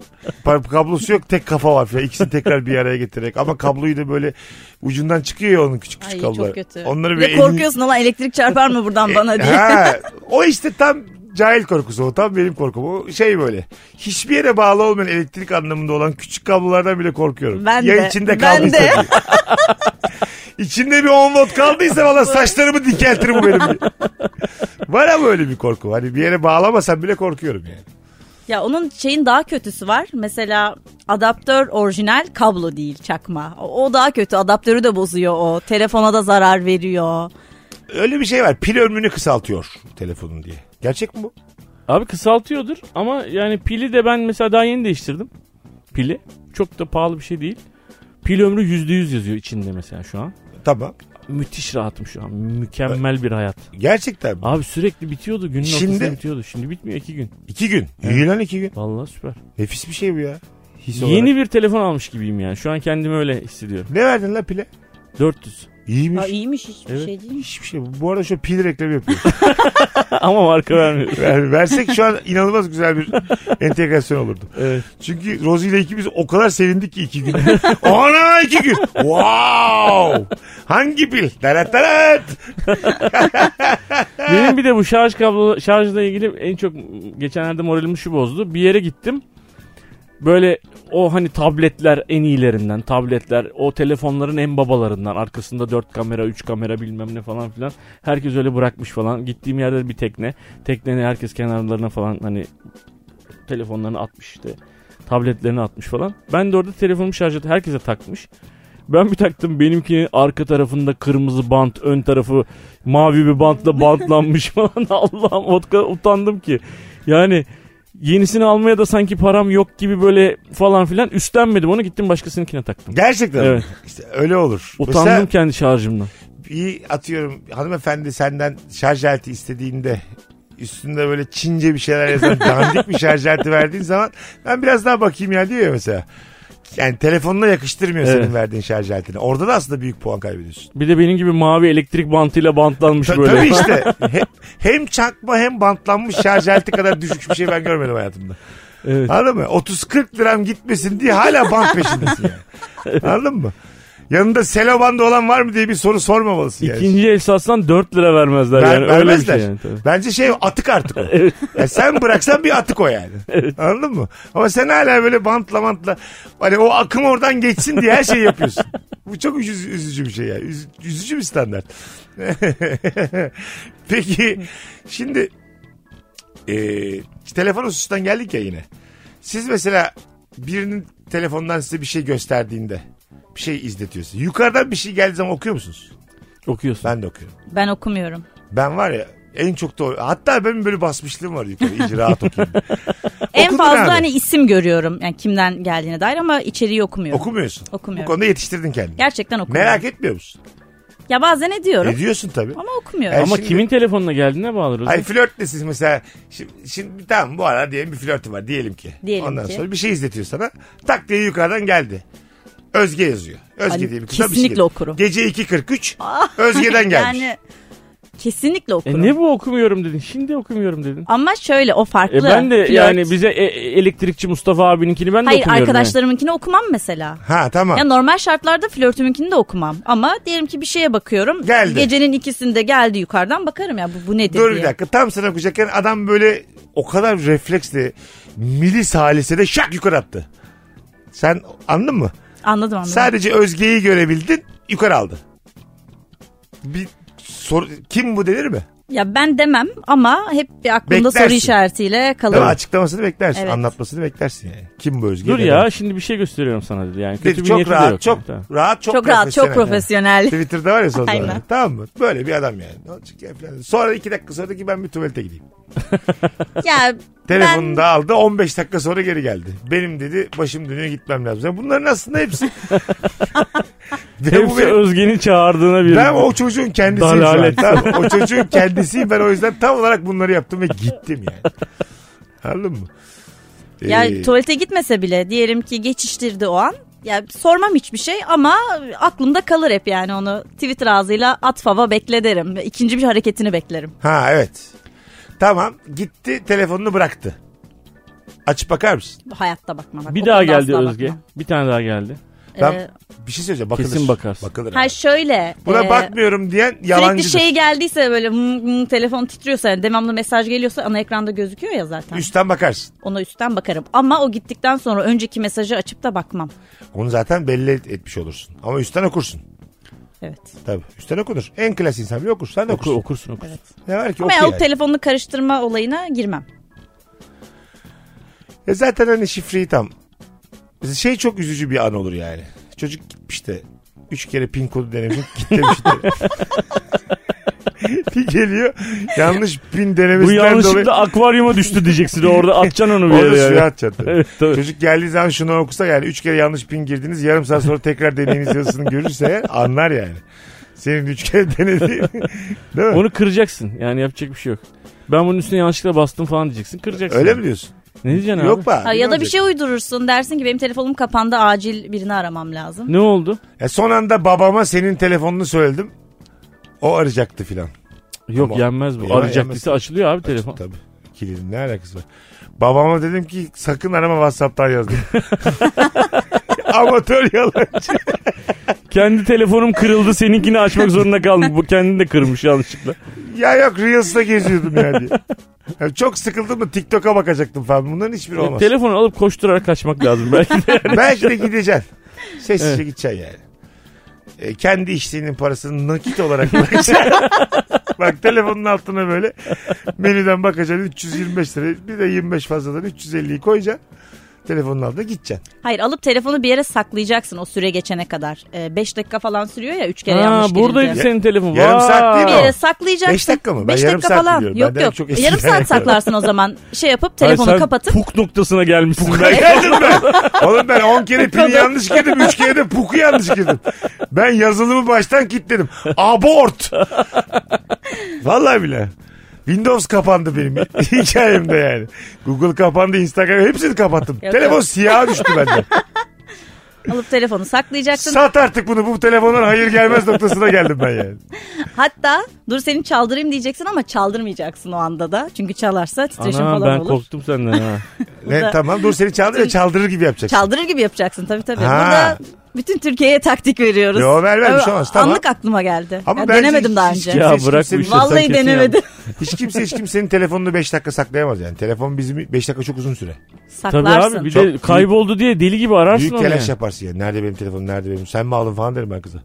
Par- Kablosu yok tek kafa var falan. İkisini tekrar bir araya getirerek ama kabloyu da böyle ucundan çıkıyor ya onun küçük küçük Ay kabloları. çok kötü. Onları Bir bir de elin- korkuyorsun ama elektrik çarpar mı buradan bana diye. Ha, o işte tam cahil korkusu o tam benim korkum. O şey böyle hiçbir yere bağlı olmayan elektrik anlamında olan küçük kablolardan bile korkuyorum. Ben ya de, içinde ben kaldıysa. de. diye. İçinde bir 10 volt kaldıysa valla saçlarımı dikeltir bu benim. diye. Var ama öyle bir korku. Hani bir yere bağlamasam bile korkuyorum yani. Ya onun şeyin daha kötüsü var. Mesela adaptör orijinal kablo değil çakma. O, o daha kötü. Adaptörü de bozuyor o. Telefona da zarar veriyor. Öyle bir şey var. Pil ömrünü kısaltıyor telefonun diye. Gerçek mi bu? Abi kısaltıyordur ama yani pili de ben mesela daha yeni değiştirdim. Pili. Çok da pahalı bir şey değil. Pil ömrü %100 yazıyor içinde mesela şu an. Tamam. Müthiş rahatım şu an. Mükemmel bir hayat. Gerçekten mi? Abi sürekli bitiyordu. Günün Şimdi- ortasında bitiyordu. Şimdi bitmiyor iki gün. İki gün. İyi lan iki gün. Vallahi süper. Nefis bir şey bu ya. His Yeni olarak. bir telefon almış gibiyim yani. Şu an kendimi öyle hissediyorum. Ne verdin la pile? 400. İyiymiş. Ya iyiymiş hiçbir Evet. şey değil. Hiçbir şey. Bu arada şu pil reklamı yapıyor. ama marka vermiyorum. Ver- versek şu an inanılmaz güzel bir entegrasyon olurdu. Evet. Çünkü Rozi ile ikimiz o kadar sevindik ki iki gün. Ana iki gün. Wow. Hangi pil? Darat darat. Benim bir de bu şarj kablo şarjla ilgili en çok geçenlerde moralimi şu bozdu. Bir yere gittim. Böyle o hani tabletler en iyilerinden, tabletler o telefonların en babalarından. Arkasında 4 kamera, 3 kamera bilmem ne falan filan. Herkes öyle bırakmış falan. Gittiğim yerde bir tekne. Tekneni herkes kenarlarına falan hani telefonlarını atmış işte. Tabletlerini atmış falan. Ben de orada telefonumu şarj et herkese takmış. Ben bir taktım benimkinin arka tarafında kırmızı bant, ön tarafı mavi bir bantla bantlanmış falan. Allah'ım o kadar utandım ki. Yani yenisini almaya da sanki param yok gibi böyle falan filan üstlenmedim onu gittim başkasınınkine taktım. Gerçekten. Evet. İşte öyle olur. Utandım Mesela kendi şarjımdan. bir atıyorum hanımefendi senden şarj aleti istediğinde üstünde böyle Çince bir şeyler yazan dandik bir şarj aleti verdiğin zaman ben biraz daha bakayım ya diyor ya mesela. Yani telefonuna yakıştırmıyor senin Evet. verdiğin şarj aletini. Orada da aslında büyük puan kaybediyorsun. Bir de benim gibi mavi elektrik bantıyla bantlanmış Ta- böyle. Tabii işte. Hem, hem çakma hem bantlanmış şarj aleti kadar düşük bir şey ben görmedim hayatımda. Evet. Anladın mı? 30-40 liram gitmesin diye hala bant peşindesin yani. Anladın mı? Yanında selo bandı olan var mı diye bir soru sormamalısın yani. İkinci el satsan 4 lira vermezler Ver- yani öyle bir vermezler. şey yani. Tabii. Bence şey atık artık o. Ya sen bıraksan bir atık o yani. Anladın mı? Ama sen hala böyle bantla bantla hani o akım oradan geçsin diye her şeyi yapıyorsun. Bu çok üzü- üzücü bir şey yani. Üz- üzücü bir standart. Peki şimdi e, telefon hususundan geldik ya yine. Siz mesela birinin telefondan size bir şey gösterdiğinde bir şey izletiyorsun. Yukarıdan bir şey geldiği zaman okuyor musunuz? Okuyorsun. Ben de okuyorum. Ben okumuyorum. Ben var ya en çok da o- hatta benim böyle basmışlığım var yukarı iyice rahat okuyayım. en Okudun fazla abi. hani isim görüyorum. Yani kimden geldiğine dair ama içeriği okumuyorum. Okumuyorsun. Bu Okumuyorum. konuda yetiştirdin kendini. Gerçekten okumuyorum. Merak etmiyor musun? Ya bazen ediyorum Ediyorsun tabii. ama okumuyorum. Her Ama şimdi- kimin telefonuna geldiğine bağlı Rozi. Ay flört de siz mesela şimdi, şimdi tamam bu ara diyelim bir flörtü var diyelim ki. Diyelim Ondan ki. sonra bir şey izletiyor sana. Tak diye yukarıdan geldi. Özge yazıyor. Özge Ay, diye bir kıza bir şey kesinlikle geliyor. okurum. Ah. Gece 2.43 Özge'den gelmiş. Yani kesinlikle E okurum. ne bu okumuyorum dedin. Şimdi okumuyorum dedin. Ama şöyle o farklı. E ben de Flört. yani bize e- e- elektrikçi Mustafa abininkini ben de Hayır okumuyorum. yani. arkadaşlarımınkini okumam mesela. Ha tamam. Ya normal şartlarda flörtümünkini de okumam. Ama diyelim ki bir şeye bakıyorum. Geldi. Gecenin ikisinde geldi yukarıdan bakarım ya bu, bu nedir Dur bir diye. dakika tam sana okuyacakken adam böyle o kadar refleksle milis halisede şak yukarı attı. Sen anladın mı? Anladım anladım. Sadece Özge'yi görebildin yukarı aldı. Bir sor, kim bu denir mi? Ya ben demem ama hep bir aklımda Beklersin. soru işaretiyle kalır. Değil mi? Açıklamasını beklersin. Evet. Anlatmasını beklersin yani. Kim bu Özge? Dur Neden? ya şimdi bir şey gösteriyorum sana dedi. Yani kötü Dedi, bir çok niyeti de rahat, yok. çok E, Tamam. rahat, çok, çok rahat, çok profesyonel. Twitter'da var ya son Aynen. zamanlar. Tamam mı? Böyle bir adam yani. Ne olacak ya falan. Sonra iki dakika sonra da ki ben bir tuvalete gideyim. ya Telefonunu ben da aldı 15 dakika sonra geri geldi. Benim dedi başım dönüyor gitmem lazım. Yani bunların aslında hepsi. Ve bu Hepsi benim- Özge'nin çağırdığına bir. Ben o çocuğun kendisiyim şu an, Dalalet. tamam mı? O çocuğun kendisiyim ben o yüzden tam olarak bunları yaptım ve gittim yani. Anladın mı? ya Ee, tuvalete gitmese bile diyelim ki geçiştirdi o an. Ya sormam hiçbir şey ama aklımda kalır hep yani onu Twitter ağzıyla at fava bekle derim. İkinci bir hareketini beklerim. ha evet. Tamam gitti telefonunu bıraktı. Açıp bakar mısın? Hayatta bakmam. Bak, Bir o daha konuda geldi asla Özge. bakmam. Bir tane daha geldi. Ben Ee, bir şey söyleyeceğim bakılır. Kesin bakarsın. Bakılır. Ha abi. şöyle. Buna e, bakmıyorum diyen Sürekli yalancıdır. şey geldiyse böyle hmm, hmm, telefon titriyorsa yani devamlı mesaj geliyorsa ana ekranda gözüküyor ya zaten. Üstten bakarsın. Ona üstten bakarım. Ama o gittikten sonra önceki mesajı açıp da bakmam. Onu zaten belli et- etmiş olursun. Ama üstten okursun. Evet. Tabii. Üstten okunur. En klas insan bile okur. Sen de Oku, okursun. okursun okursun. Ne var ki Ama oku ya o yani. telefonunu karıştırma olayına girmem. E zaten hani şifreyi tam. Şey çok üzücü bir an olur yani. Çocuk gitmiş de üç kere pin kodu denemiş. Gitmiş de. bir geliyor. Yanlış pin Bu denemesinden dolayı. yanlışlıkla akvaryuma düştü diyeceksin orada atacaksın onu bir Onu yere yani. suya atacaksın. Evet, tabii. Çocuk geldiği zaman şunu okusa yani üç kere yanlış pin girdiniz yarım saat sonra tekrar deneyiniz yazısını görürse eğer anlar yani. Senin üç kere denediğin. Değil mi? Onu kıracaksın yani yapacak bir şey yok. Ben bunun üstüne yanlışlıkla bastım falan diyeceksin. Kıracaksın. Öyle mi diyorsun? Ne diyeceksin Yok abi? be. Ha, abi, ya ne da bir olacak? şey uydurursun dersin ki benim telefonum kapandı acil birini aramam lazım. Ne oldu? E son anda babama senin telefonunu söyledim. O arayacaktı filan. Yok Tamam. yenmez bu. Yenmez, yenmez. Arayacaktıysa açılıyor abi telefon. Tabii. Kilidin ne alakası var? Babama dedim ki sakın arama WhatsApp'tan yazdım. Amatör yalancı. Kendi telefonum kırıldı seninkini açmak zorunda kaldım. Bu kendini de kırmış yanlışlıkla. Ya yok Reels'da geziyordum yani. Ya çok sıkıldım da TikTok'a bakacaktım falan. Bunların E, hiçbiri olmaz. Telefonu alıp koşturarak kaçmak lazım belki de. Belki de gideceksin. Sessizce gideceksin yani. E, kendi işliğinin parasını nakit olarak bırakacaksın. Bak telefonun altına böyle menüden bakacaksın 325 lira. Bir de 25 fazladan 350'yi koyacaksın. Telefonun altına gideceksin. Hayır alıp telefonu bir yere saklayacaksın o süre geçene kadar. 5 dakika falan sürüyor ya 3 kere Ha, yanlış buradaydı girince. senin telefon. Yarım saat değil mi Bir o? yere saklayacaksın. Beş dakika mı? Ben Beş yarım dakika saat falan. biliyorum. Yok Benden yok. çok eskiden yarım saat yapıyorum. saklarsın o zaman. Şey yapıp Hayır, telefonu sen kapatıp Puk noktasına gelmişsin. Ben belki. geldim ben. Oğlum ben 10 kere pin yanlış girdim. 3 kere de puku yanlış girdim. Ben yazılımı baştan kilitledim. Abort. Vallahi bile. Windows kapandı benim hikayemde yani. Google kapandı, Instagram hepsini kapattım. Yok, Telefon yok. siyah düştü bende. alıp telefonu saklayacaksın. Sat artık bunu bu telefondan hayır gelmez noktasına geldim ben yani. Hatta dur seni çaldırayım diyeceksin ama çaldırmayacaksın o anda da. Çünkü çalarsa titreşim Ana falan ben olur. korktum senden ha. Ne, tamam dur seni çaldır ya çaldırır gibi yapacaksın. Çaldırır gibi yapacaksın tabii tabii. Ha. Burada bütün Türkiye'ye taktik veriyoruz. Yo, ver, ver, bir Ama şey olmaz, tamam. Anlık aklıma geldi. Ama Ya bence denemedim daha hiç önce. kimse- ya Kimse- bırak bu kimse- işleri, sen Vallahi kesin denemedim. yaptın. Hiç kimse hiç kimsenin telefonunu 5 dakika saklayamaz yani. Telefon bizim 5 dakika çok uzun süre. Tabii Saklarsın. abi bir Çok de büyük- kayboldu diye deli gibi ararsın Büyük onu. telaş yani. yaparsın yani. Nerede benim telefonum nerede benim sen mi aldın falan derim ben kıza.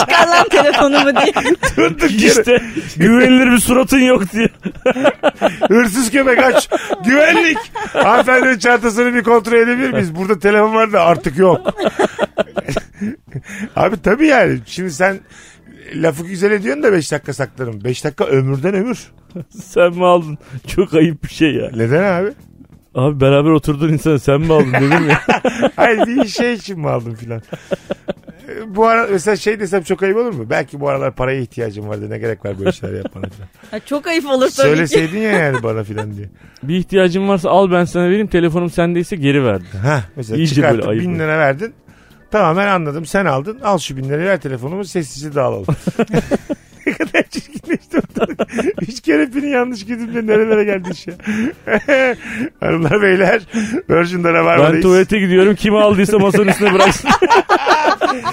Çıkar lan telefonumu diye. İşte güvenilir bir suratın yok diye. Hırsız köpek aç. Güvenlik. Hanımefendinin çantasını bir kontrol edebilir miyiz? Burada telefon var da artık yok. Abi tabii yani. Şimdi sen lafı güzel ediyorsun da 5 dakika saklarım. 5 dakika ömürden ömür. Sen mi aldın? Çok ayıp bir şey ya. Neden abi? Abi beraber oturduğun insan sen mi aldın dedim ya. Hayır bir şey için mi aldın filan? Ee, Bu ara mesela şey desem çok ayıp olur mu? Belki bu aralar paraya ihtiyacım vardı. Ne gerek var böyle şeyler yapmana filan. Ha, Çok ayıp olur tabii ki. Söyleseydin ya yani bana filan diye. Bir ihtiyacın varsa al ben sana vereyim. Telefonum sendeyse geri ver. Ha mesela İyice çıkartıp böyle ayıp bin oldu. lira verdin. Tamam ben anladım sen aldın. Al şu bin lirayı ver telefonumu sessizce dağılalım. ne kadar çirkinleşti ortalık. Üç kere pini yanlış girdim de nerelere geldi iş ya. Hanımlar beyler Virgin'de Ben Rabarba'dayız. tuvalete gidiyorum. Kim aldıysa masanın üstüne bıraksın.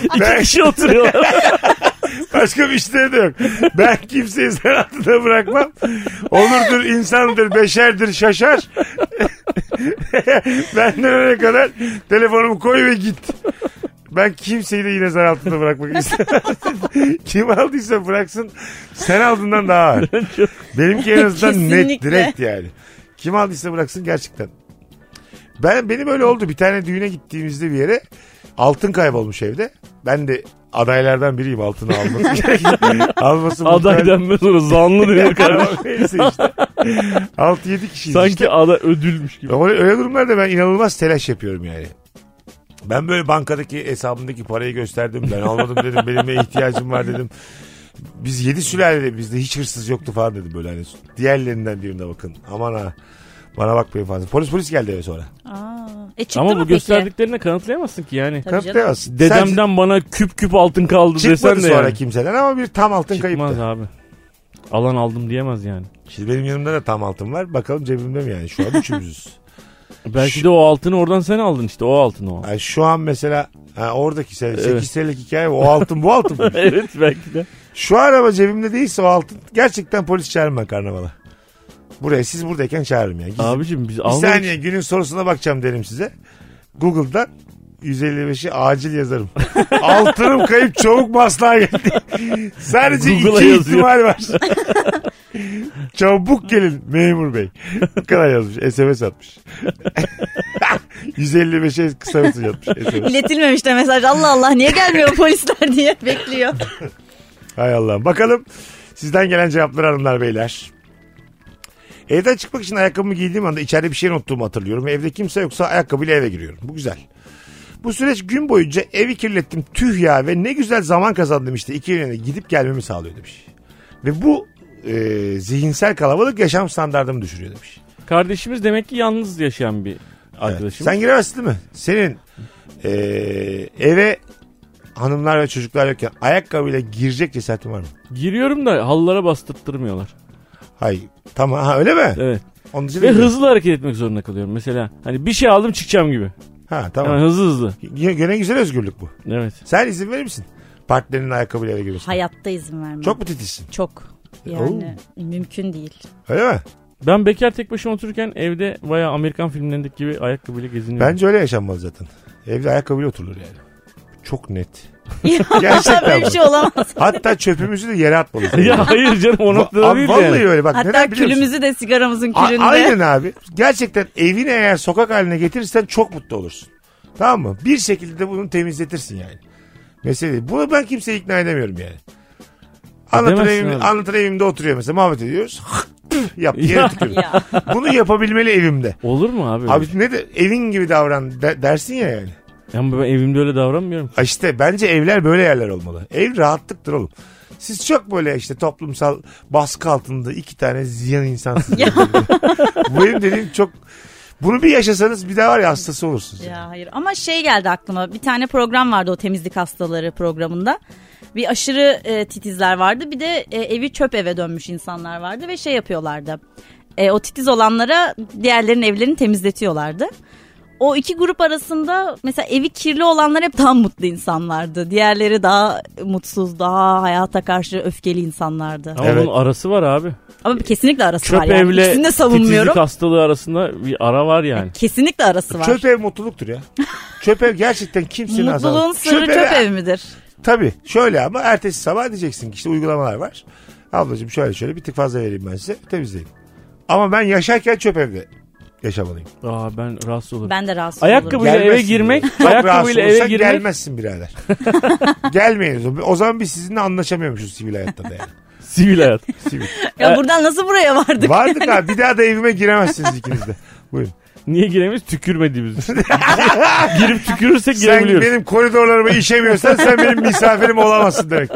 İki Ben- kişi oturuyorlar. Başka bir işleri de yok. Ben kimseyi sen altında bırakmam. Olurdur insandır beşerdir şaşar. Benden öne kadar telefonumu koy ve git. Ben kimseyi de yine zar altında bırakmak istemem. Kim aldıysa bıraksın sen aldığından daha ağır. Benimki en azından net Kesinlikle. direkt yani. Kim aldıysa bıraksın gerçekten. Ben benim öyle oldu. Bir tane düğüne gittiğimizde bir yere altın kaybolmuş evde. Ben de adaylardan biriyim altını alması. gerekiyor. alması Aday muhtemelen- denmez ona. Zanlı denir kardeşim. Ama Neyse işte. 6-7 kişiyiz işte. Sanki aday ödülmüş gibi. Öyle, öyle durumlarda ben inanılmaz telaş yapıyorum yani. Ben böyle bankadaki hesabımdaki parayı gösterdim. Ben almadım dedim. Benim de ihtiyacım var dedim. Biz yedi sülalede bizde hiç hırsız yoktu falan dedim böyle hani. Diğerlerinden birine bakın. Aman ha. Bana bakmayın falan. Polis polis geldi eve sonra. Aa, e çıktı Ama mı bu peki? gösterdiklerine kanıtlayamazsın ki yani. Tabii canım. Kanıtlayamazsın. Dedemden bana küp küp altın kaldı Sen desen çıkmadı de sonra yani. kimseden ama bir tam altın Çıkmaz kayıptı. abi. Alan aldım diyemez yani. Şimdi benim yanımda da tam altın var. Bakalım cebimde mi yani? Şu an üçümüzüz. Belki de o altını oradan sen aldın işte o altın o. Yani şu an mesela ha, oradaki sen, 8 Evet. senelik hikaye o altın bu altın mı? evet belki de. Şu an ama cebimde değilse o altın gerçekten polis çağırırım ben karnavala. Buraya siz buradayken çağırırım yani. Gizli- Abicim biz bir almadık. saniye günün sorusuna bakacağım derim size. Google'dan 155'i acil yazarım. Altınım kayıp çabuk maslağa geldi. Sadece Google'a iki yazıyor. ihtimal var. çabuk gelin memur bey. Bu kadar yazmış. SMS atmış. 155'e kısa mesaj atmış. SMS. İletilmemiş de mesaj. Allah Allah niye gelmiyor polisler diye bekliyor. Hay Allah. Bakalım sizden gelen cevaplar hanımlar beyler. Evden çıkmak için ayakkabımı giydiğim anda içeride bir şeyin unuttuğumu hatırlıyorum. ve Evde kimse yoksa ayakkabıyla eve giriyorum. Bu güzel. Bu süreç gün boyunca evi kirlettim tüh ya ve ne güzel zaman kazandım işte. İki yöne gidip gelmemi sağlıyor demiş. Ve bu e, zihinsel kalabalık yaşam standartımı düşürüyor demiş. Kardeşimiz demek ki yalnız yaşayan bir Evet. arkadaşımız. Sen giremezsin değil mi? Senin e, eve hanımlar ve çocuklar yokken ayakkabıyla girecek cesaretin var mı? Giriyorum da halılara bastırttırmıyorlar. Hayır. Tamam ha, öyle mi? Evet. Onun için Ve de- hızlı hareket etmek zorunda kalıyorum. Mesela hani bir şey aldım çıkacağım gibi. Ha Hemen tamam. hızlı hızlı. Gene gene güzel özgürlük bu. Evet. Sen izin verir misin? Partnerinin ayakkabıyla eve girmesine. Hayatta izin vermem. Çok mu E, titizsin? Çok. Yani mümkün değil. Öyle mi? Ben bekar tek başıma otururken evde bayağı Amerikan filmlerindeki gibi ayakkabıyla geziniyorum. Bence öyle yaşanmalı zaten. Evde ayakkabıyla oturulur yani. Çok net. Ya, Gerçekten Böyle bir mi? şey olamaz. Hatta çöpümüzü de yere atmalıyız. ya hayır canım o noktada Abi, değil vallahi de. öyle bak. Hatta neden biliyor musun? külümüzü de sigaramızın A- külünde. aynen abi. Gerçekten evini eğer sokak haline getirirsen çok mutlu olursun. Tamam mı? Bir şekilde bunu temizletirsin yani. Mesele Bunu ben kimseye ikna edemiyorum yani. Anlatır, Edemezsin evim, E, abi. anlatır evimde oturuyor mesela muhabbet ediyoruz. Yap Ya. yere tükürüyor. Ya. Bunu yapabilmeli evimde. Olur mu abi? öyle? Abi ne de evin gibi davran de- dersin ya yani. Ama ben evimde öyle davranmıyorum. Ha İşte bence evler böyle yerler olmalı. Ev rahatlıktır oğlum. Siz çok böyle işte toplumsal baskı altında iki tane ziyan insansınız. Ya. Bu benim dediğim çok... Bunu bir yaşasanız bir daha var ya hastası olursunuz. Ya hayır ama şey geldi aklıma bir tane program vardı o temizlik hastaları programında. Bir aşırı e, titizler vardı bir de e, evi çöp eve dönmüş insanlar vardı ve şey yapıyorlardı. E, o titiz olanlara diğerlerinin evlerini temizletiyorlardı. O iki grup arasında mesela evi kirli olanlar hep daha mutlu insanlardı. Diğerleri daha mutsuz, daha hayata karşı öfkeli insanlardı. Ama Evet. bunun arası var abi. Ama kesinlikle arası Çöp var yani. evle İkisini de titizlik savunmuyorum. hastalığı arasında bir ara var yani. Kesinlikle arası var. Çöp ev mutluluktur ya. çöp ev gerçekten kimsenin Mutluluğun azalmaz. sırrı çöp ev midir? Tabii şöyle ama ertesi sabah diyeceksin ki işte uygulamalar var. Ablacığım şöyle şöyle bir tık fazla vereyim ben size temizleyin. Ama ben yaşarken çöp evde yaşamalıyım. Aa ben rahatsız olurum. Ben de rahatsız olurum. Ayakkabı- Böyle eve Gelmezsin girmek, diyor. Çok ayakkabıyla rahatsız eve olursan girmek- gelmezsin birader. Gelmeyiniz. O zaman biz sizinle anlaşamıyormuşuz sivil hayatta da yani. Sivil hayat. Sivil. Ya buradan nasıl buraya vardık? Vardık abi bir daha da evime giremezsiniz ikiniz de. Buyurun. Niye giremeyiz? Tükürmediğimiz için. Girip tükürürsek Sen girebiliyoruz. benim koridorlarıma işemiyorsan sen benim misafirim olamazsın demek.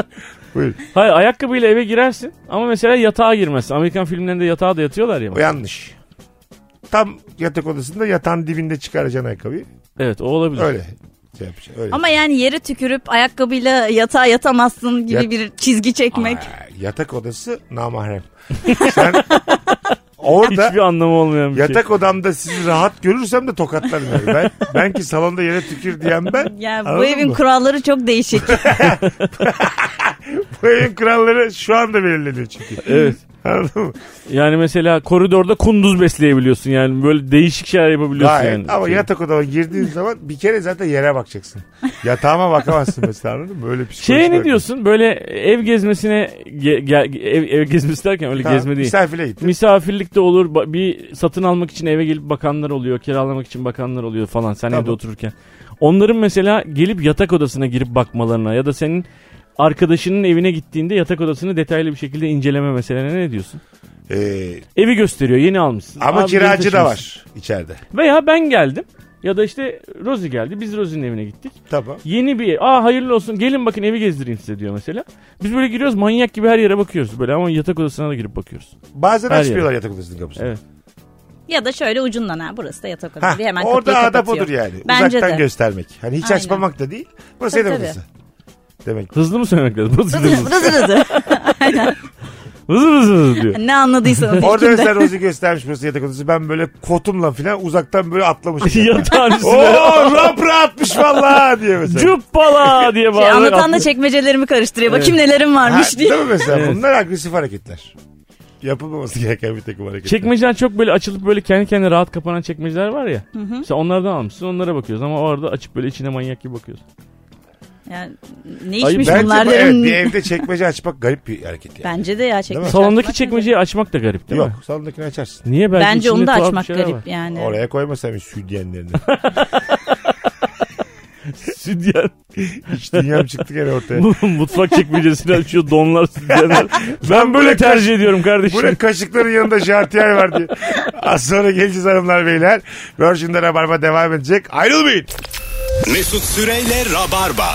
Buyurun. Hayır ayakkabıyla eve girersin ama mesela yatağa girmezsin. Amerikan filmlerinde yatağa da yatıyorlar ya. O yanlış. Tam yatak odasında yatağın dibinde çıkaracaksın ayakkabıyı. Evet o olabilir. Öyle. Şey yapacaksın, öyle. Ama yani yere tükürüp ayakkabıyla yatağa yatamazsın gibi Yat- bir çizgi çekmek. Aa, Ee, yatak odası namahrem. Sen orada Hiçbir anlamı olmayan bir şey. Yatak odamda sizi rahat görürsem de tokatlarım. yani. Ben, ben ki salonda yere tükür diyen ben. Yani bu Anladın evin mı? kuralları çok değişik. bu evin kuralları şu anda belirleniyor çünkü. Evet. Anladın mı? Yani mesela koridorda kunduz besleyebiliyorsun yani böyle değişik şeyler yapabiliyorsun Gayet. yani. Ama Şey. yatak odama girdiğin zaman bir kere zaten yere bakacaksın. Yatağıma bakamazsın mesela anladın mı? Böyle psikolojik. Şeye ne olarak. diyorsun böyle ev gezmesine ge- ge- ev, ev gezmesi derken öyle Tamam, gezme değil. Misafire gittin. Misafirlik de olur ba- bir satın almak için eve gelip bakanlar oluyor kiralamak için bakanlar oluyor falan sen Tamam. evde otururken. Onların mesela gelip yatak odasına girip bakmalarına ya da senin arkadaşının evine gittiğinde yatak odasını detaylı bir şekilde inceleme meselene ne diyorsun? Ee, Evi gösteriyor yeni almışsın. ama Abi kiracı yeni da taşımışsın. var içeride. Veya ben geldim ya da işte Rozi geldi biz Rozi'nin evine gittik. Tamam. Yeni bir ev. Aa hayırlı olsun gelin bakın evi gezdireyim size diyor mesela. Biz böyle giriyoruz manyak gibi her yere bakıyoruz böyle ama yatak odasına da girip bakıyoruz. Bazen Her açmıyorlar yatak odasının kapısını. Evet. ya da şöyle ucundan ha burası da yatak Ha, odası diye hemen orada kapıyı adap kapatıyor. odur yani. Bence Uzaktan de. göstermek. Hani hiç Aynen. açmamak da değil. Burası Tabii, yatak tabii. odası. Demek Hızlı mı söylemek lazım? Hızlı Rızı hızlı. rızı rızı. Aynen. Vız vız vız diyor. Ne anladıysanız Orada ilkinde. mesela Rozi göstermiş burası yatak odası. Ben böyle kotumla falan uzaktan böyle atlamışım. Yatağın Oh! üstüne. Oo rapra atmış valla diye mesela. Cuppala diye Şey, bağırarak. anlatan da çekmecelerimi karıştırıyor. Bakayım nelerim Ha, varmış diye. Değil mi mesela? Evet. Bunlar agresif hareketler. Yapılmaması gereken bir takım hareketler. Çekmeceler çok böyle açılıp böyle kendi kendine rahat kapanan çekmeceler var ya. Sen onlardan almışsın onlara bakıyoruz ama orada açıp böyle içine manyak gibi bakıyoruz. Yani, ne Ayıp. içmiş Bence bunlar bu- evet, derim. bir evde çekmece açmak garip bir hareket yani. Bence de ya çekmece. Salondaki açmak çekmeceyi açmak da garip değil Yok mi? salondakini açarsın. Niye garip. belki Bence onu içinde da tuhaf açmak şeyler garip var. yani. Oraya koymasam hiç südyenlerini. Sütyen. hiç dünyam çıktı gene ortaya. Mutfak çekmecesini açıyor donlar sütyenler. Ben böyle tercih ediyorum kardeşim. şey- Bu ne kaşıkların yanında jartiyer var diye. Az sonra geleceğiz hanımlar beyler. Virgin'de Rabarba devam edecek. Ayrılmayın. Mesut Süreyle Rabarba.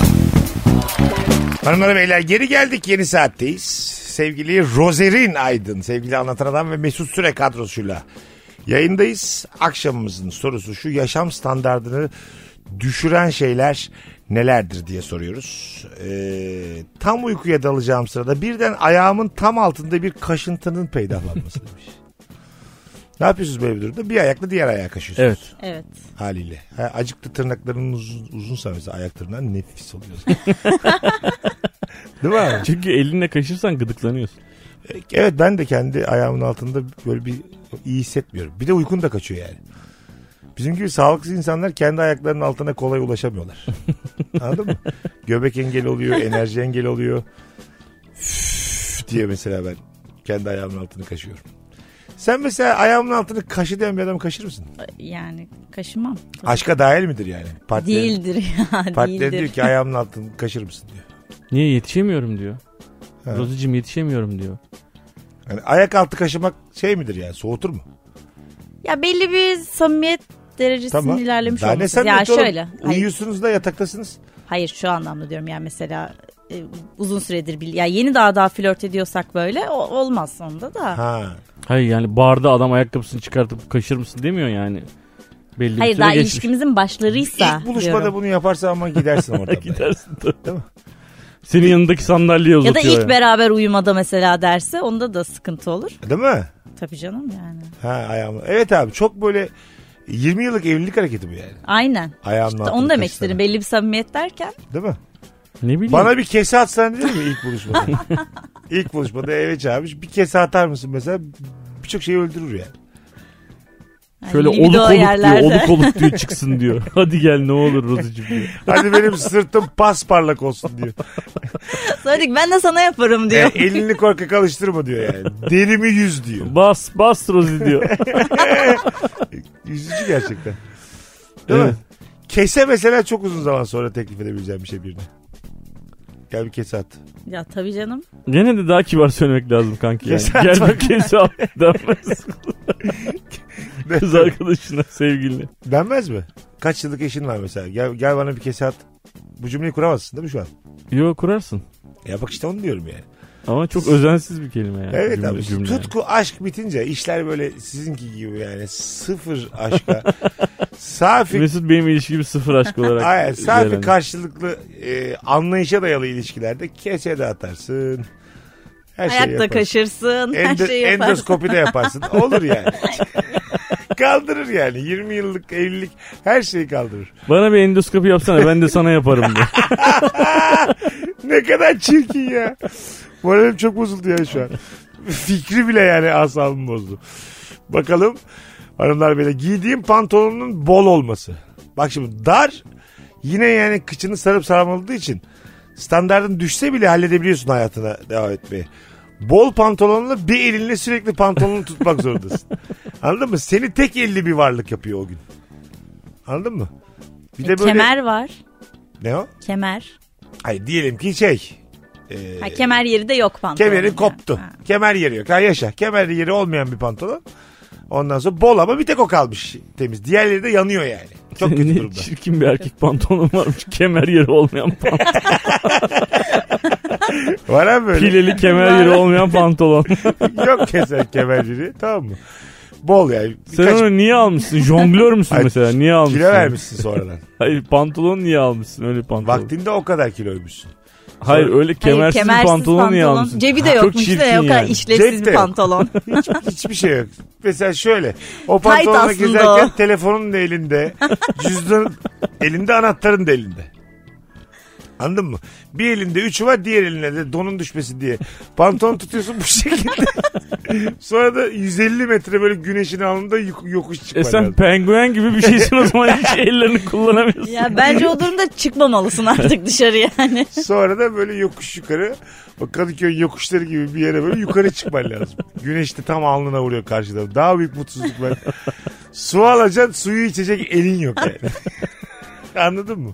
Hanımlar beyler geri geldik yeni saatteyiz. Sevgili Rozerin Aydın, sevgili Anlatan Adam ve Mesut Süre kadrosuyla yayındayız. Akşamımızın sorusu şu yaşam standartını düşüren şeyler nelerdir diye soruyoruz. Ee, tam uykuya dalacağım sırada birden ayağımın tam altında bir kaşıntının peydahlanması demiş. Ne yapıyorsunuz böyle bir durumda? Bir ayakla diğer ayağa kaşıyorsunuz Evet. Evet. haliyle. Ha, acıktı tırnaklarının uzun, uzunsa mesela ayak tırnağı nefis oluyor. Değil mi abi? Çünkü elinle kaşırsan gıdıklanıyorsun. Evet ben de kendi ayağımın altında böyle bir iyi hissetmiyorum. Bir de uykun da kaçıyor yani. Bizim gibi sağlıksız insanlar kendi ayaklarının altına kolay ulaşamıyorlar. Anladın mı? Göbek engeli oluyor, enerji engeli oluyor. Üf diye mesela ben kendi ayağımın altını kaşıyorum. Sen mesela ayağımın altını kaşı diyen bir adam kaşır mısın? Yani kaşımam. Aşka dahil midir yani? Partilerin- Değildir ya. Partner Değildir. diyor ki ayağımın altını kaşır mısın diyor. Niye yetişemiyorum diyor. Ha. Rozucum yetişemiyorum diyor. Yani ayak altı kaşımak şey midir yani soğutur mu? Ya belli bir samimiyet derecesinin ilerlemiş Daha ne olması. Ya samimiyeti oğlum? şöyle. Hayır, Uyuyorsunuz da yataktasınız. hayır şu anlamda diyorum yani mesela e, uzun süredir bil ya yeni daha daha flört ediyorsak böyle o- olmaz onda da. Ha. Hayır yani barda adam ayakkabısını çıkartıp kaşır mısın demiyor yani. Belli bir Hayır süre daha geçmiş. ilişkimizin başlarıysa İlk buluşmada diyorum. bunu yaparsa ama gidersin oradan. yani. Gidersin tabii. Senin yanındaki sandalyeye Ya da uzatıyor. ilk yani. beraber uyumada mesela derse onda da sıkıntı olur. Değil mi? Tabii canım yani. Ha ayağımla. Evet abi çok böyle 20 yıllık evlilik hareketi bu yani. Aynen. Ayağımın İşte altını onu demek kaşısana. istedim. Belli bir samimiyet derken. Değil mi? Ne bileyim. Bana bir kese atsan değil mi ilk buluşmada? ilk buluşmada eve çağırmış. Bir kese atar mısın mesela? Birçok şeyi öldürür yani. yani Şöyle hani libido oluk oluk yerlerde. diyor. Oluk oluk diyor çıksın diyor. Hadi gel ne olur Rozucum diyor. Hadi benim sırtım pasparlak olsun diyor. Sonra diyor ki, ben de sana yaparım E, diyor. elini korkak alıştırma diyor yani. Derimi yüz diyor. Bas bas Rozi diyor. Yüzücü gerçekten. Değil Evet. mi? Kese mesela çok uzun zaman sonra teklif edebileceğim bir şey birine. Gel bir kese at. ya tabii canım. Gene de daha kibar söylemek lazım kanki. Yani. Kesin. Gel bak kimse al. Denmez. Kız arkadaşına sevgiline. Denmez mi? Kaç yıllık eşin var mesela. Gel, gel bana bir kese at. Bu cümleyi kuramazsın değil mi şu an? Yo kurarsın. Ya bak işte onu diyorum yani. Ama çok özensiz bir kelime yani. evet Cümle- abi. cümle yani. Tutku aşk bitince işler böyle sizinki gibi yani sıfır aşka. safi Mesut benim ilişkimi sıfır aşk olarak. hani. Hayır, safi değerlendir- karşılıklı e, anlayışa dayalı ilişkilerde kese de atarsın. Her şeyi Ayakta yaparsın. kaşırsın. her Endo, şeyi yaparsın. endoskopi de yaparsın. Olur yani. kaldırır yani. 20 yıllık evlilik her şeyi kaldırır. Bana bir endoskopi yapsana ben de sana yaparım diyor. Ne kadar çirkin ya. Moralim çok bozuldu ya şu an. Fikri bile yani asabımı bozdu. Bakalım hanımlar böyle giydiğim pantolonun bol olması. Bak şimdi dar yine yani kıçını sarıp sarmaladığı için standartın düşse bile halledebiliyorsun hayatına devam etmeyi. Bol pantolonla bir elinle sürekli pantolonunu tutmak zorundasın. Anladın mı? Seni tek elli bir varlık yapıyor o gün. Anladın mı? Bir E, Kemer var. Ne o? Kemer. Hayır diyelim ki şey. e, Ha, kemer yeri de yok pantolonun. Kemeri yani. koptu. Ha. Kemer yeri yok. Ha yaşa. Kemer yeri olmayan bir pantolon. Ondan sonra bol ama bir tek o kalmış temiz. Diğerleri de yanıyor yani. Çok kötü Ne durumda. Çirkin bir erkek pantolonum varmış. Kemer yeri olmayan pantolon. Var abi böyle. Pileli kemer yeri olmayan pantolon. yok keser kemer yeri. Tamam mı? Bol yani. Sen Birkaç onu niye almışsın? Jonglör müsün Ay, mesela? Niye almışsın? kilo vermişsin sonradan. Hayır pantolon niye almışsın öyle pantolon? Vaktinde o kadar kiloymuşsun. Hayır öyle kemersiz, Hayır, kemersiz pantolon niye almışsın? Cebi de Çok yokmuş çirkin da o kadar yani. işlevsiz Cep de bir yok. pantolon. Hiç, hiçbir şey yok. Mesela şöyle. O Tight pantolonla aslında gezerken o. telefonun da elinde. Cüzdanın elinde anahtarın da elinde. Anladın mı? Bir elinde üçü var diğer eline de donun düşmesi diye. Pantolon tutuyorsun bu şekilde. Sonra da 150 metre böyle güneşin alnında yok- yokuş E çıkman sen lazım. penguen gibi bir şeysin o zaman hiç ellerini kullanamıyorsun. ya bence o durumda çıkmamalısın artık dışarı yani. Sonra da böyle yokuş yukarı o Kadıköy yokuşları gibi bir yere böyle yukarı çıkman lazım. Güneş de tam alnına vuruyor karşıda. Daha büyük mutsuzluk var. Su alacaksın suyu içecek elin yok yani. Anladın mı?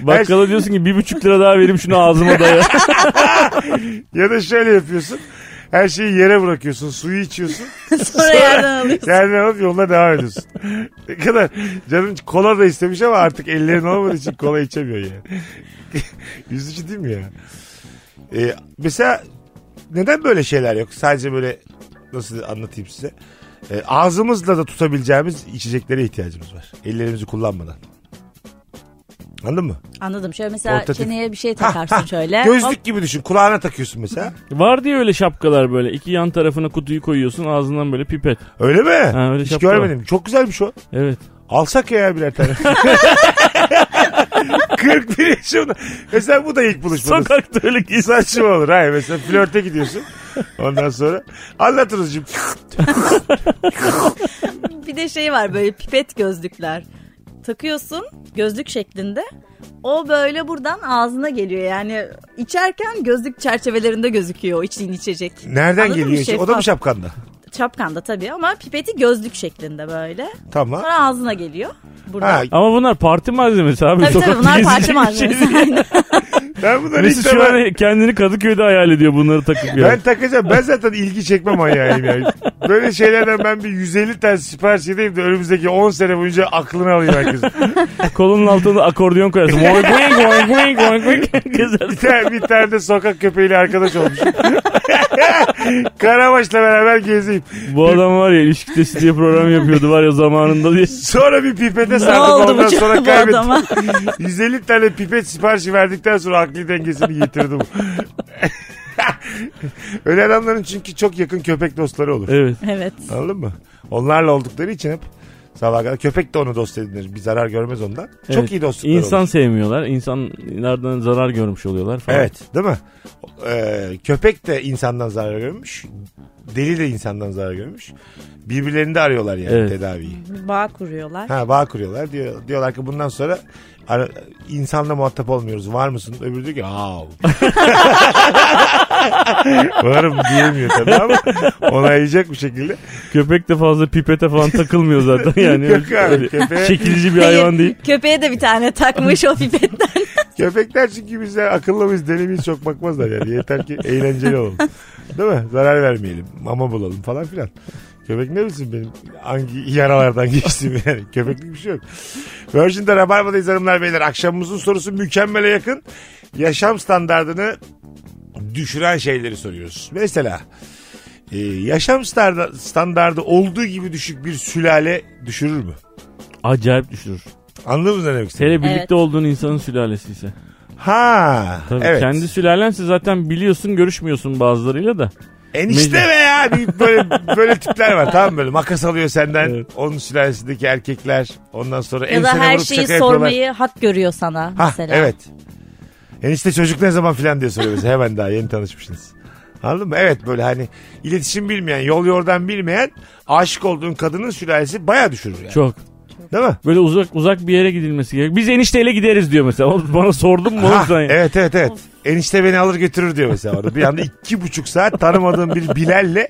Bakkala diyorsun ki bir buçuk lira daha vereyim şunu ağzıma daya. Ya da şöyle yapıyorsun. Her şeyi yere bırakıyorsun. Suyu içiyorsun. Sonra yerden alıyorsun. Yerden alıp yoluna devam ediyorsun. Ne kadar canım kola da istemiş ama artık ellerin olmadığı için kola içemiyor yani. Yüzücü değil mi ya? Ee, mesela neden böyle şeyler yok? Sadece böyle nasıl anlatayım size? Ee, ağzımızla da tutabileceğimiz içeceklere ihtiyacımız var. Ellerimizi kullanmadan. Anladın mı? Anladım. Şöyle mesela Ortatif. çeneye bir şey Ha, ha. takarsın şöyle. Hop. Gözlük gibi düşün. Kulağına takıyorsun mesela. Var diye öyle şapkalar böyle. İki yan tarafına kutuyu koyuyorsun ağzından böyle pipet. Öyle mi? Ha, öyle Hiç şapka görmedim. Çok güzel bir şey o. Evet. Alsak ya birer tane. 41 yaşımda. Mesela bu da ilk buluşmamız. Sokakta öyle giysin. Saçma olur. Hayır mesela flörte gidiyorsun. Ondan sonra anlatırız şimdi. Bir de şey var böyle pipet gözlükler. Takıyorsun gözlük şeklinde. O böyle buradan ağzına geliyor yani içerken gözlük çerçevelerinde gözüküyor o içtiğin içecek. Nereden Anladın mı? geliyor? işte? O da mı Şeffaf. şapkanda? Çapkanda tabii ama pipeti gözlük şeklinde böyle. Tamam. Sonra ağzına geliyor. Buradan. Ha, Ama bunlar parti malzemesi abi. Tabii tabii Sokakta bunlar gezecek parça bir şey malzemesi. değil. ben bunları ilk Mesut şu defa... an kendini Kadıköy'de hayal ediyor bunları takıp ya. Ben takacağım. Ben zaten ilgi çekme manyağıyım yani. Böyle şeylerden ben bir 150 tane sipariş edeyim de önümüzdeki 10 sene boyunca aklını alayım herkesin. Kolunun altına akordeon koyarsın. Boing boing boing boing boing boing. Bir Gezersin. tane, bir tane de sokak köpeğiyle arkadaş olmuşum. Karabaş'la beraber gezeyim. Bu adam var ya ilişkidesi diye program yapıyordu var ya zamanında diye. Sonra bir pipete ne sardım oldu ondan bu, sonra bu kaybettim. adama? 150 tane pipet siparişi verdikten sonra akli dengesini yitirdim. Öyle adamların çünkü çok yakın köpek dostları olur. Evet. evet. Anladın mı? Onlarla oldukları için hep sabah kadar köpek de onu dost edinir. Bir zarar görmez ondan. Çok Evet. iyi dostluklar İnsan olur. sevmiyorlar. İnsanlardan zarar görmüş oluyorlar falan. Evet değil mi? Ee, köpek de insandan zarar görmüş. Deli de insandan zarar görmüş. Birbirlerini de arıyorlar yani Evet. tedaviyi. Bağ kuruyorlar. Ha bağ kuruyorlar. Diyor, diyorlar ki bundan sonra ara- insanla muhatap olmuyoruz. Var mısın? Öbürü diyor ki "Au." Varım diyemiyor tabii ama onaylayacak bir şekilde. Köpek de fazla pipete falan takılmıyor zaten yani. Yok abi, Öyle köpeğe- Çekilici bir hayvan değil. Köpeğe de bir tane takmış o pipetten. Köpekler çünkü bize akıllı mıyız deli miyiz çok bakmazlar yani. Yeter ki eğlenceli olalım. Değil mi? Zarar vermeyelim. Mama bulalım falan filan. Köpek ne bilsin benim hangi yaralardan geçtiğimi yani. Köpeklik bir şey yok. Virgin'de Rabarba'dayız hanımlar beyler. Akşamımızın sorusu mükemmele yakın. Yaşam standartını düşüren şeyleri soruyoruz. Mesela e, yaşam starda- standardı olduğu gibi düşük bir sülale düşürür mü? Acayip düşürür. Anladınız mı ne demek istediğimi? Hele birlikte Evet. olduğun insanın sülalesi ise. Ha, Tabii evet. kendi sülalense zaten biliyorsun görüşmüyorsun bazılarıyla da. Enişte Mecbur. be ya Bir böyle böyle tipler var tamam mı? böyle makas alıyor senden Evet. onun sülalesindeki erkekler ondan sonra ya da ensene her vurup şeyi şaka yapıyorlar. sormayı hak görüyor sana Hah, mesela. evet. Enişte çocuk ne zaman filan diye soruyor mesela. hemen daha yeni tanışmışsınız. Anladın mı? Evet böyle hani iletişim bilmeyen, yol yordan bilmeyen aşık olduğun kadının sülalesi baya düşürür yani. Çok. Değil mi? Böyle uzak uzak bir yere gidilmesi gerek. Biz enişteyle gideriz diyor mesela. Oğlum Bana sordun mu oğlum Ha, sen? ya? evet evet evet. Enişte beni alır götürür diyor mesela orada. Bir anda iki buçuk saat tanımadığın bir Bilal'le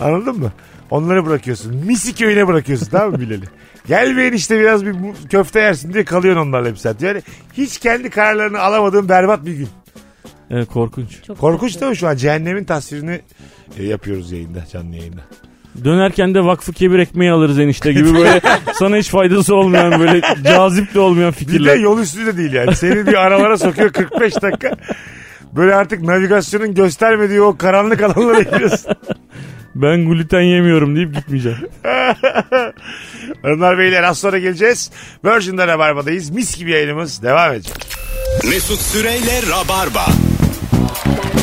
anladın mı? Onları bırakıyorsun. Misi köyüne bırakıyorsun tamam mı Bilal'i? Gel bir enişte biraz bir bu- köfte yersin diye kalıyorsun onlarla bir saat. Yani hiç kendi kararlarını alamadığın berbat bir gün. Evet, korkunç. Çok Korkunç değil mi şu an? Cehennemin tasvirini e, yapıyoruz yayında, canlı yayında. Dönerken de vakfı kebir ekmeği alırız enişte gibi böyle sana hiç faydası olmayan böyle cazip de olmayan Bir de fikirler. yol üstü de değil yani. Seni bir aralara sokuyor 45 dakika. Böyle artık navigasyonun göstermediği o karanlık alanlara giriyorsun. Ben gluten yemiyorum deyip gitmeyeceğim. Hanımlar beyler az sonra geleceğiz. Virgin'de Rabarba'dayız. Mis gibi yayınımız devam edecek. Mesut Süreyle Rabarba.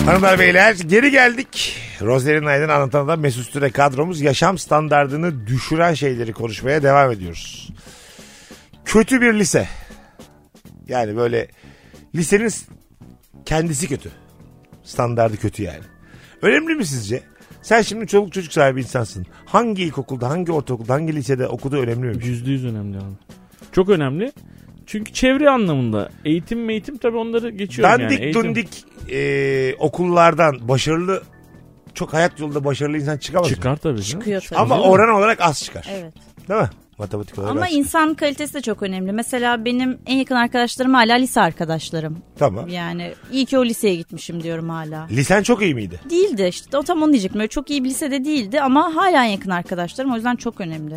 Hanımlar beyler geri geldik. Rozlerin Aydın anlatan da Mesut Süre kadromuz yaşam standartını düşüren şeyleri konuşmaya devam ediyoruz. Kötü bir lise. Yani böyle lisenin kendisi kötü. Standardı kötü yani. Önemli mi sizce? Sen şimdi çoluk çocuk sahibi insansın. Hangi ilkokulda, hangi ortaokulda, hangi lisede okuduğu önemli mi? şey? Yüzde yüz önemli abi. Çok önemli. Çünkü çevre anlamında. Eğitim meğitim tabii onları geçiyorum Dandik yani. Eğitim- dundik e, okullardan başarılı, çok hayat yolunda başarılı insan çıkamaz. mı? Çıkar tabii. canım. Çıkıyor tabii. Ama oran olarak az çıkar. Evet. Değil mi? Matematik olarak Ama az çıkar. insan kalitesi de çok önemli. Mesela benim en yakın arkadaşlarım hala lise arkadaşlarım. Tamam. Yani iyi ki o liseye gitmişim diyorum hala. Lisen çok iyi miydi? Değildi işte o tam onu diyecektim. Öyle çok iyi bir lisede değildi ama hala en yakın arkadaşlarım o yüzden çok önemli.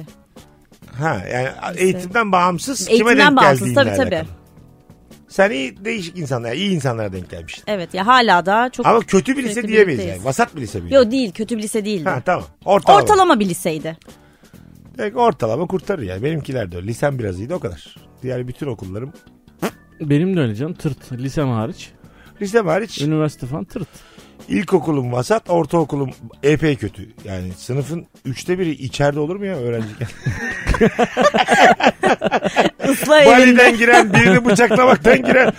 Ha yani eğitimden bağımsız kime Eğitimden denk bağımsız geldiğinle tabii alakalı. tabii. Sen iyi değişik insanlar, iyi insanlara denk gelmiştin. Evet ya hala da çok... Ama kötü bir lise Sürekli diyemeyiz birlikteyiz. yani. Vasat bir lise miydi? Yok değil kötü bir lise değildi. Ha tamam. Ortalama. Ortalama. Ortalama bir liseydi. ortalama kurtarır yani. Benimkiler de öyle. Lisem biraz iyiydi o kadar. Diğer bütün okullarım. Benim de öyle canım tırt. Lisem hariç. Lisem hariç Üniversite falan tırt. ilkokulum vasat, ortaokulum epey kötü. Yani sınıfın üçte biri içeride olur mu ya öğrenciyken? Isla evinde. Bali'den giren, birini bıçaklamaktan giren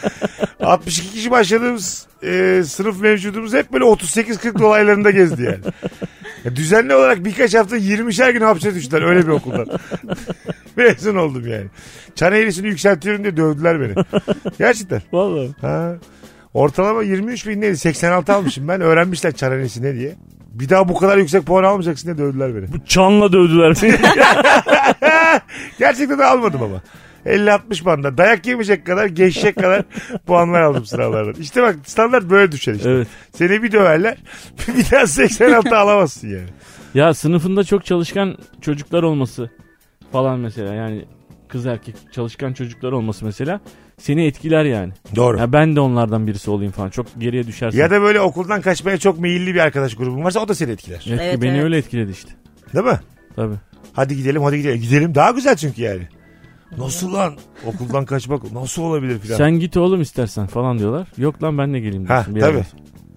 62 kişi başladığımız e, sınıf mevcudumuz hep böyle 38-40 dolaylarında gezdi yani. Ya düzenli olarak birkaç hafta 20'şer gün hapse düştüler öyle bir okuldan. Mezun oldum yani. Çan eğrisini yükseltiyorum diye dövdüler beni. Gerçekten. Vallahi. Ha. Ortalama 23 bin neydi? 86 almışım ben. Öğrenmişler çan eğrisi ne diye. Bir daha bu kadar yüksek puan almayacaksın diye dövdüler beni. Bu çanla dövdüler beni. Gerçekten de almadım ama. 50-60 banda dayak yemeyecek kadar geçecek kadar puanlar aldım sınavlardan. İşte bak standart böyle düşer işte. evet. Seni bir döverler bir daha 86 alamazsın yani. Ya sınıfında çok çalışkan çocuklar olması falan mesela yani kız erkek çalışkan çocuklar olması mesela seni etkiler yani. Doğru. Ya ben de onlardan birisi olayım falan. Çok geriye düşersin. Ya da böyle okuldan kaçmaya çok meyilli bir arkadaş grubun varsa o da seni etkiler. Etki- Evet, beni evet. öyle etkiledi işte. Değil mi? Tabii. Hadi gidelim hadi gidelim. E, Gidelim daha güzel çünkü yani. Nasıl lan? Okuldan kaçmak nasıl olabilir filan. Sen git oğlum istersen falan diyorlar. Yok lan ben de geleyim Ha, diyorsun. bir tabii. yerden.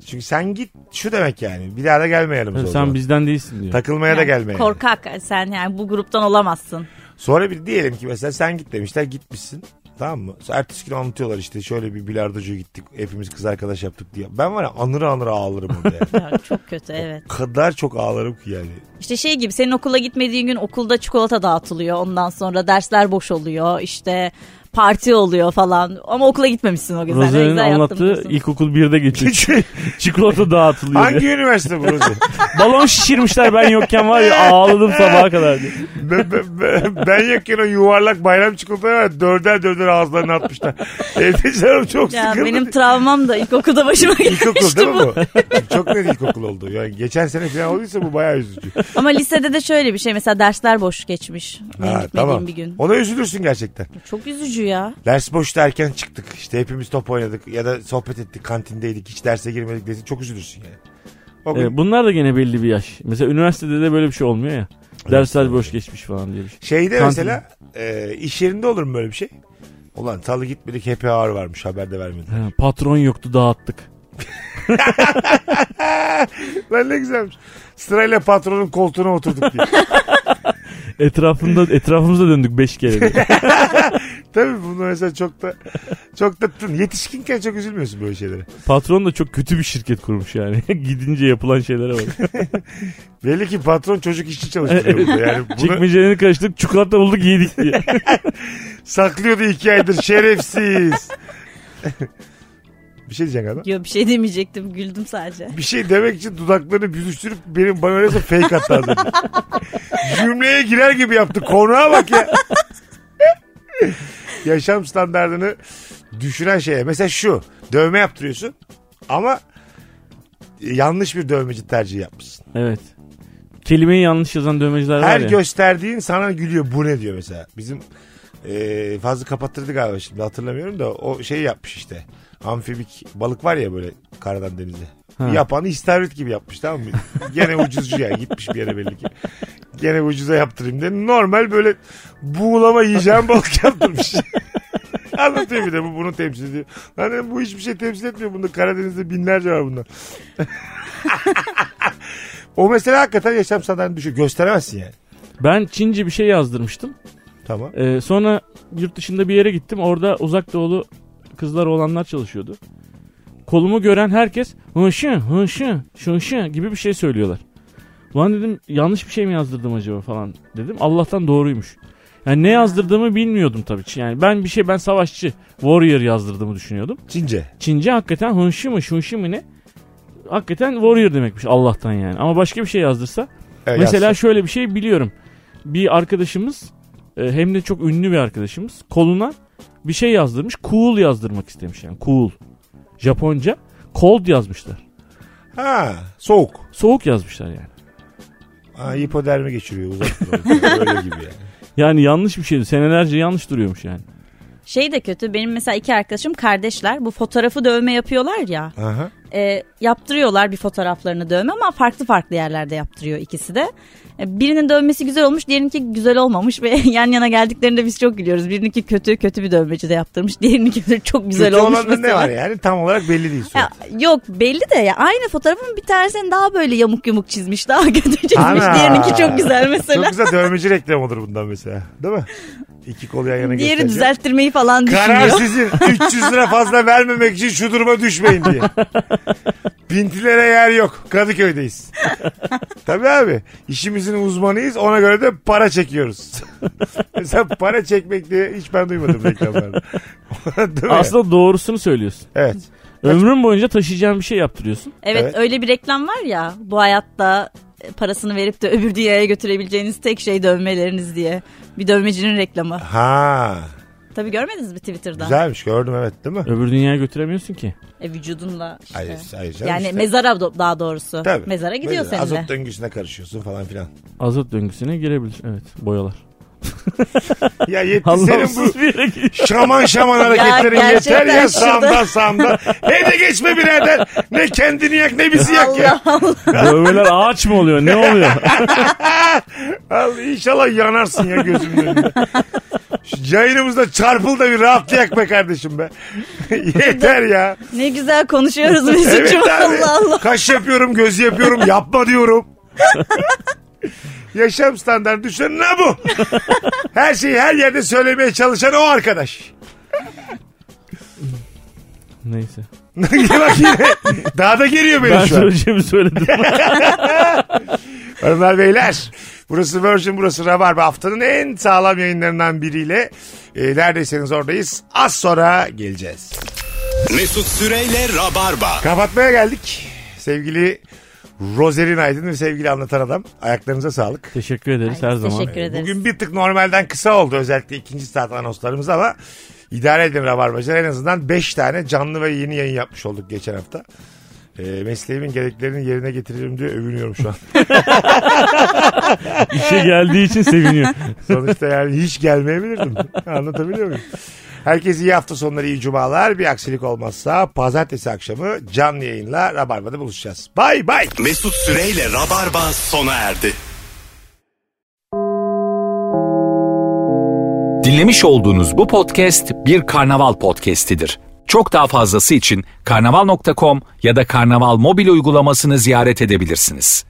Çünkü sen git şu demek yani. Bir daha da gelmeyelim. biz Tabii o sen zaman. bizden değilsin diyor. Takılmaya da Yani gelmeyelim. Korkak sen yani bu gruptan olamazsın. Sonra bir diyelim ki mesela sen git demişler gitmişsin. Tamam mı? Sonra Ertesi gün anlatıyorlar işte şöyle bir bilardocuya gittik. Hepimiz kız arkadaş yaptık diye. Ben var ya anır anır ağlarım orada yani. Ya, çok kötü evet. O kadar çok ağlarım ki yani. İşte şey gibi senin okula gitmediğin gün okulda çikolata dağıtılıyor. Ondan sonra dersler boş oluyor. işte parti oluyor falan. Ama okula gitmemişsin o gün. sen ne Rozer'in güzel yaptın anlattığı diyorsun. ilkokul 1'de geçiyor. Çikolata dağıtılıyor. Hangi üniversite burası? Balon şişirmişler ben yokken var ya ağladım sabaha kadar diye. ben, ben, ben- ben yokken o yuvarlak bayram çikolatayı var ya, dörder dörder ağızlarına atmışlar. Evde canım çok Ya sıkıldı. benim travmam da ilkokulda başıma İlkokul gelmişti değil mi bu. bu? çok net ilkokul oldu. Yani geçen sene falan olduysa bu bayağı üzücü. Ama lisede de şöyle bir şey mesela dersler boş geçmiş. Benim Ha, gitmediğim tamam. bir gün. Ona üzülürsün gerçekten. Çok üzücü ya. Ders boşta erken çıktık. İşte hepimiz top oynadık ya da sohbet ettik, kantindeydik. Hiç derse girmedik desin çok üzülürsün yani. O gün Evet, bunlar da gene belli bir yaş. Mesela üniversitede de böyle bir şey olmuyor ya. Dersler boş geçmiş falan diye bir şey. şeyde Kantin. mesela e, iş yerinde olur mu böyle bir şey? Ulan salı gitmedik hep ağır varmış haber de vermedi. Ha, patron yoktu dağıttık. Lan ne güzelmiş. Sırayla patronun koltuğuna oturduk diye. Etrafında etrafımıza döndük 5 kere. diye. Tabii bunu mesela çok da çok da tın. Yetişkinken çok üzülmüyorsun böyle şeylere. patron da çok kötü bir şirket kurmuş yani. Gidince yapılan şeylere bak. Belli ki patron çocuk işçi çalıştırıyor burada. Yani bunu Çekmecelerini karıştık, çikolata bulduk yedik diye. saklıyordu iki aydır şerefsiz. bir şey diyeceksin galiba. Yok bir şey demeyecektim güldüm sadece. bir şey demek için dudaklarını büzüştürüp benim bana öyleyse fake attı az önce. Cümleye girer gibi yaptı. Konuğa bak ya. Yaşam standartını düşüren şeye. Mesela şu. Dövme yaptırıyorsun ama yanlış bir dövmeci tercihi yapmışsın. evet. Kelimeyi yanlış yazan dövmeciler var Her ya. gösterdiğin sana gülüyor. Bu ne diyor mesela. Bizim e, fazla kapattırdı galiba şimdi hatırlamıyorum da o şey yapmış işte. Amfibik balık var ya böyle karadan denize. Yapanı istavrit gibi yapmış tamam mı? Gene ucuzcu ya gitmiş bir yere belli ki. Gene ucuza yaptırayım diye. Normal böyle buğulama yiyeceğim balık yaptırmış. Anlatıyor bir de bu bunu temsil ediyor. Lan dedim, bu hiçbir şey temsil etmiyor. Bunda Karadeniz'de binlerce var bundan. o mesela hakikaten yaşam standartını düşüyor. Gösteremezsin yani. Ben Çince bir şey yazdırmıştım. Tamam. Ee, sonra yurt dışında bir yere gittim. Orada uzak doğulu kızlar olanlar çalışıyordu. Kolumu gören herkes hınşı hınşı şınşı gibi bir şey söylüyorlar. Lan dedim yanlış bir şey mi yazdırdım acaba falan dedim. Allah'tan doğruymuş. Yani ne yazdırdığımı bilmiyordum tabii. ki. Yani ben bir şey ben savaşçı warrior yazdırdığımı düşünüyordum. Çince. Çince hakikaten hınşı mı şunşı mı ne? Hakikaten warrior demekmiş Allah'tan yani. Ama başka bir şey yazdırsa Evet, Mesela yazsın. şöyle bir şey biliyorum. Bir arkadaşımız e, hem de çok ünlü bir arkadaşımız koluna bir şey yazdırmış. Cool yazdırmak istemiş yani. Cool. Japonca cold yazmışlar. Ha, soğuk. Soğuk yazmışlar yani. Ha, hipodermi geçiriyor uzak doğuda. Öyle gibi yani. Yani yanlış bir şeydi. Senelerce yanlış duruyormuş yani. Şey de kötü benim mesela iki arkadaşım kardeşler bu fotoğrafı dövme yapıyorlar ya. Aha. E, yaptırıyorlar bir fotoğraflarını dövme ama farklı farklı yerlerde yaptırıyor ikisi de. E, birinin dövmesi güzel olmuş diğerininki güzel olmamış ve yan yana geldiklerinde biz çok gülüyoruz. Birininki kötü kötü bir dövmeci de yaptırmış diğerininki çok güzel Kötü olmuş. olanda ne mesela. var yani? Tam olarak belli değil. Ya, sonuç. yok belli de ya aynı fotoğrafın bir tanesini daha böyle yamuk yumuk çizmiş daha kötü çizmiş Ana. diğerininki çok güzel mesela. Çok güzel dövmeci reklam olur bundan mesela. Değil mi? İki kol yan yana Diğeri gösterecek. düzelttirmeyi falan Karar düşünüyor. sizin. 300 lira fazla vermemek için şu duruma düşmeyin diye. Pintilere yer yok. Kadıköy'deyiz. Tabii abi. İşimizin uzmanıyız. Ona göre de para çekiyoruz. Mesela para çekmek diye hiç ben duymadım reklamlarda. Değil mi? Aslında doğrusunu söylüyorsun. Evet. Ömrün boyunca taşıyacağın bir şey yaptırıyorsun. Evet, Evet. öyle bir reklam var ya bu hayatta e, parasını verip de öbür dünyaya götürebileceğiniz tek şey dövmeleriniz diye. Bir dövmecinin reklamı. Ha. Tabii görmediniz mi Twitter'da? Güzelmiş gördüm evet değil mi? Öbür dünyaya götüremiyorsun ki. E, vücudunla işte. Hayır, hayır canım yani işte. mezara do- daha doğrusu. Tabii. Mezara gidiyor Mezara. seninle. Azot döngüsüne karışıyorsun falan filan. Azot döngüsüne girebilir. Evet boyalar. Ya yetti senin bu Anlamsız bir yere giriyor. Şaman şaman hareketlerin Ya yeter gerçekten ya şurada. sağımdan sağımdan. Hele geçme birader. Ne kendini yak ne bizi yak ya. Allah Allah. Dövmeler ağaç mı oluyor? Ne oluyor? Al, inşallah yanarsın ya gözümün önünde. Şu Yayınımızda çarpıl da bir rahatlayak be kardeşim be. yeter ya. ne güzel konuşuyoruz Mesut'cum. abi. Allah Allah. Kaş yapıyorum göz yapıyorum yapma diyorum. Yaşam standartı düşen ne bu? Her şeyi her yerde söylemeye çalışan o arkadaş. Neyse. Bak yine daha da geliyor benim Ben şu an. söyleyeceğimi söyledim. Hanımlar beyler burası Virgin burası Rabarba haftanın en sağlam yayınlarından biriyle e, neredeyseniz oradayız az sonra geleceğiz. Mesut Süreyle Rabarba. Kapatmaya geldik sevgili Rozerin Aydın ve sevgili anlatan adam ayaklarınıza sağlık. Teşekkür ederiz her zaman. Teşekkür ederiz. Bugün bir tık normalden kısa oldu özellikle ikinci saat anonslarımız ama idare edin Rabarbacılar en azından 5 tane canlı ve yeni yayın yapmış olduk geçen hafta. E, mesleğimin gereklerini yerine getiririm diye övünüyorum şu an. İşe geldiği için seviniyor. Sonuçta yani hiç gelmeyebilirdim. Anlatabiliyor muyum? Herkese iyi hafta sonları, iyi cumalar. Bir aksilik olmazsa pazartesi akşamı canlı yayınla Rabarba'da buluşacağız. Bay bay. Mesut Süreyle Rabarba sona erdi. Dinlemiş olduğunuz bu podcast bir karnaval podcastidir. Çok daha fazlası için karnaval.com ya da karnaval mobil uygulamasını ziyaret edebilirsiniz.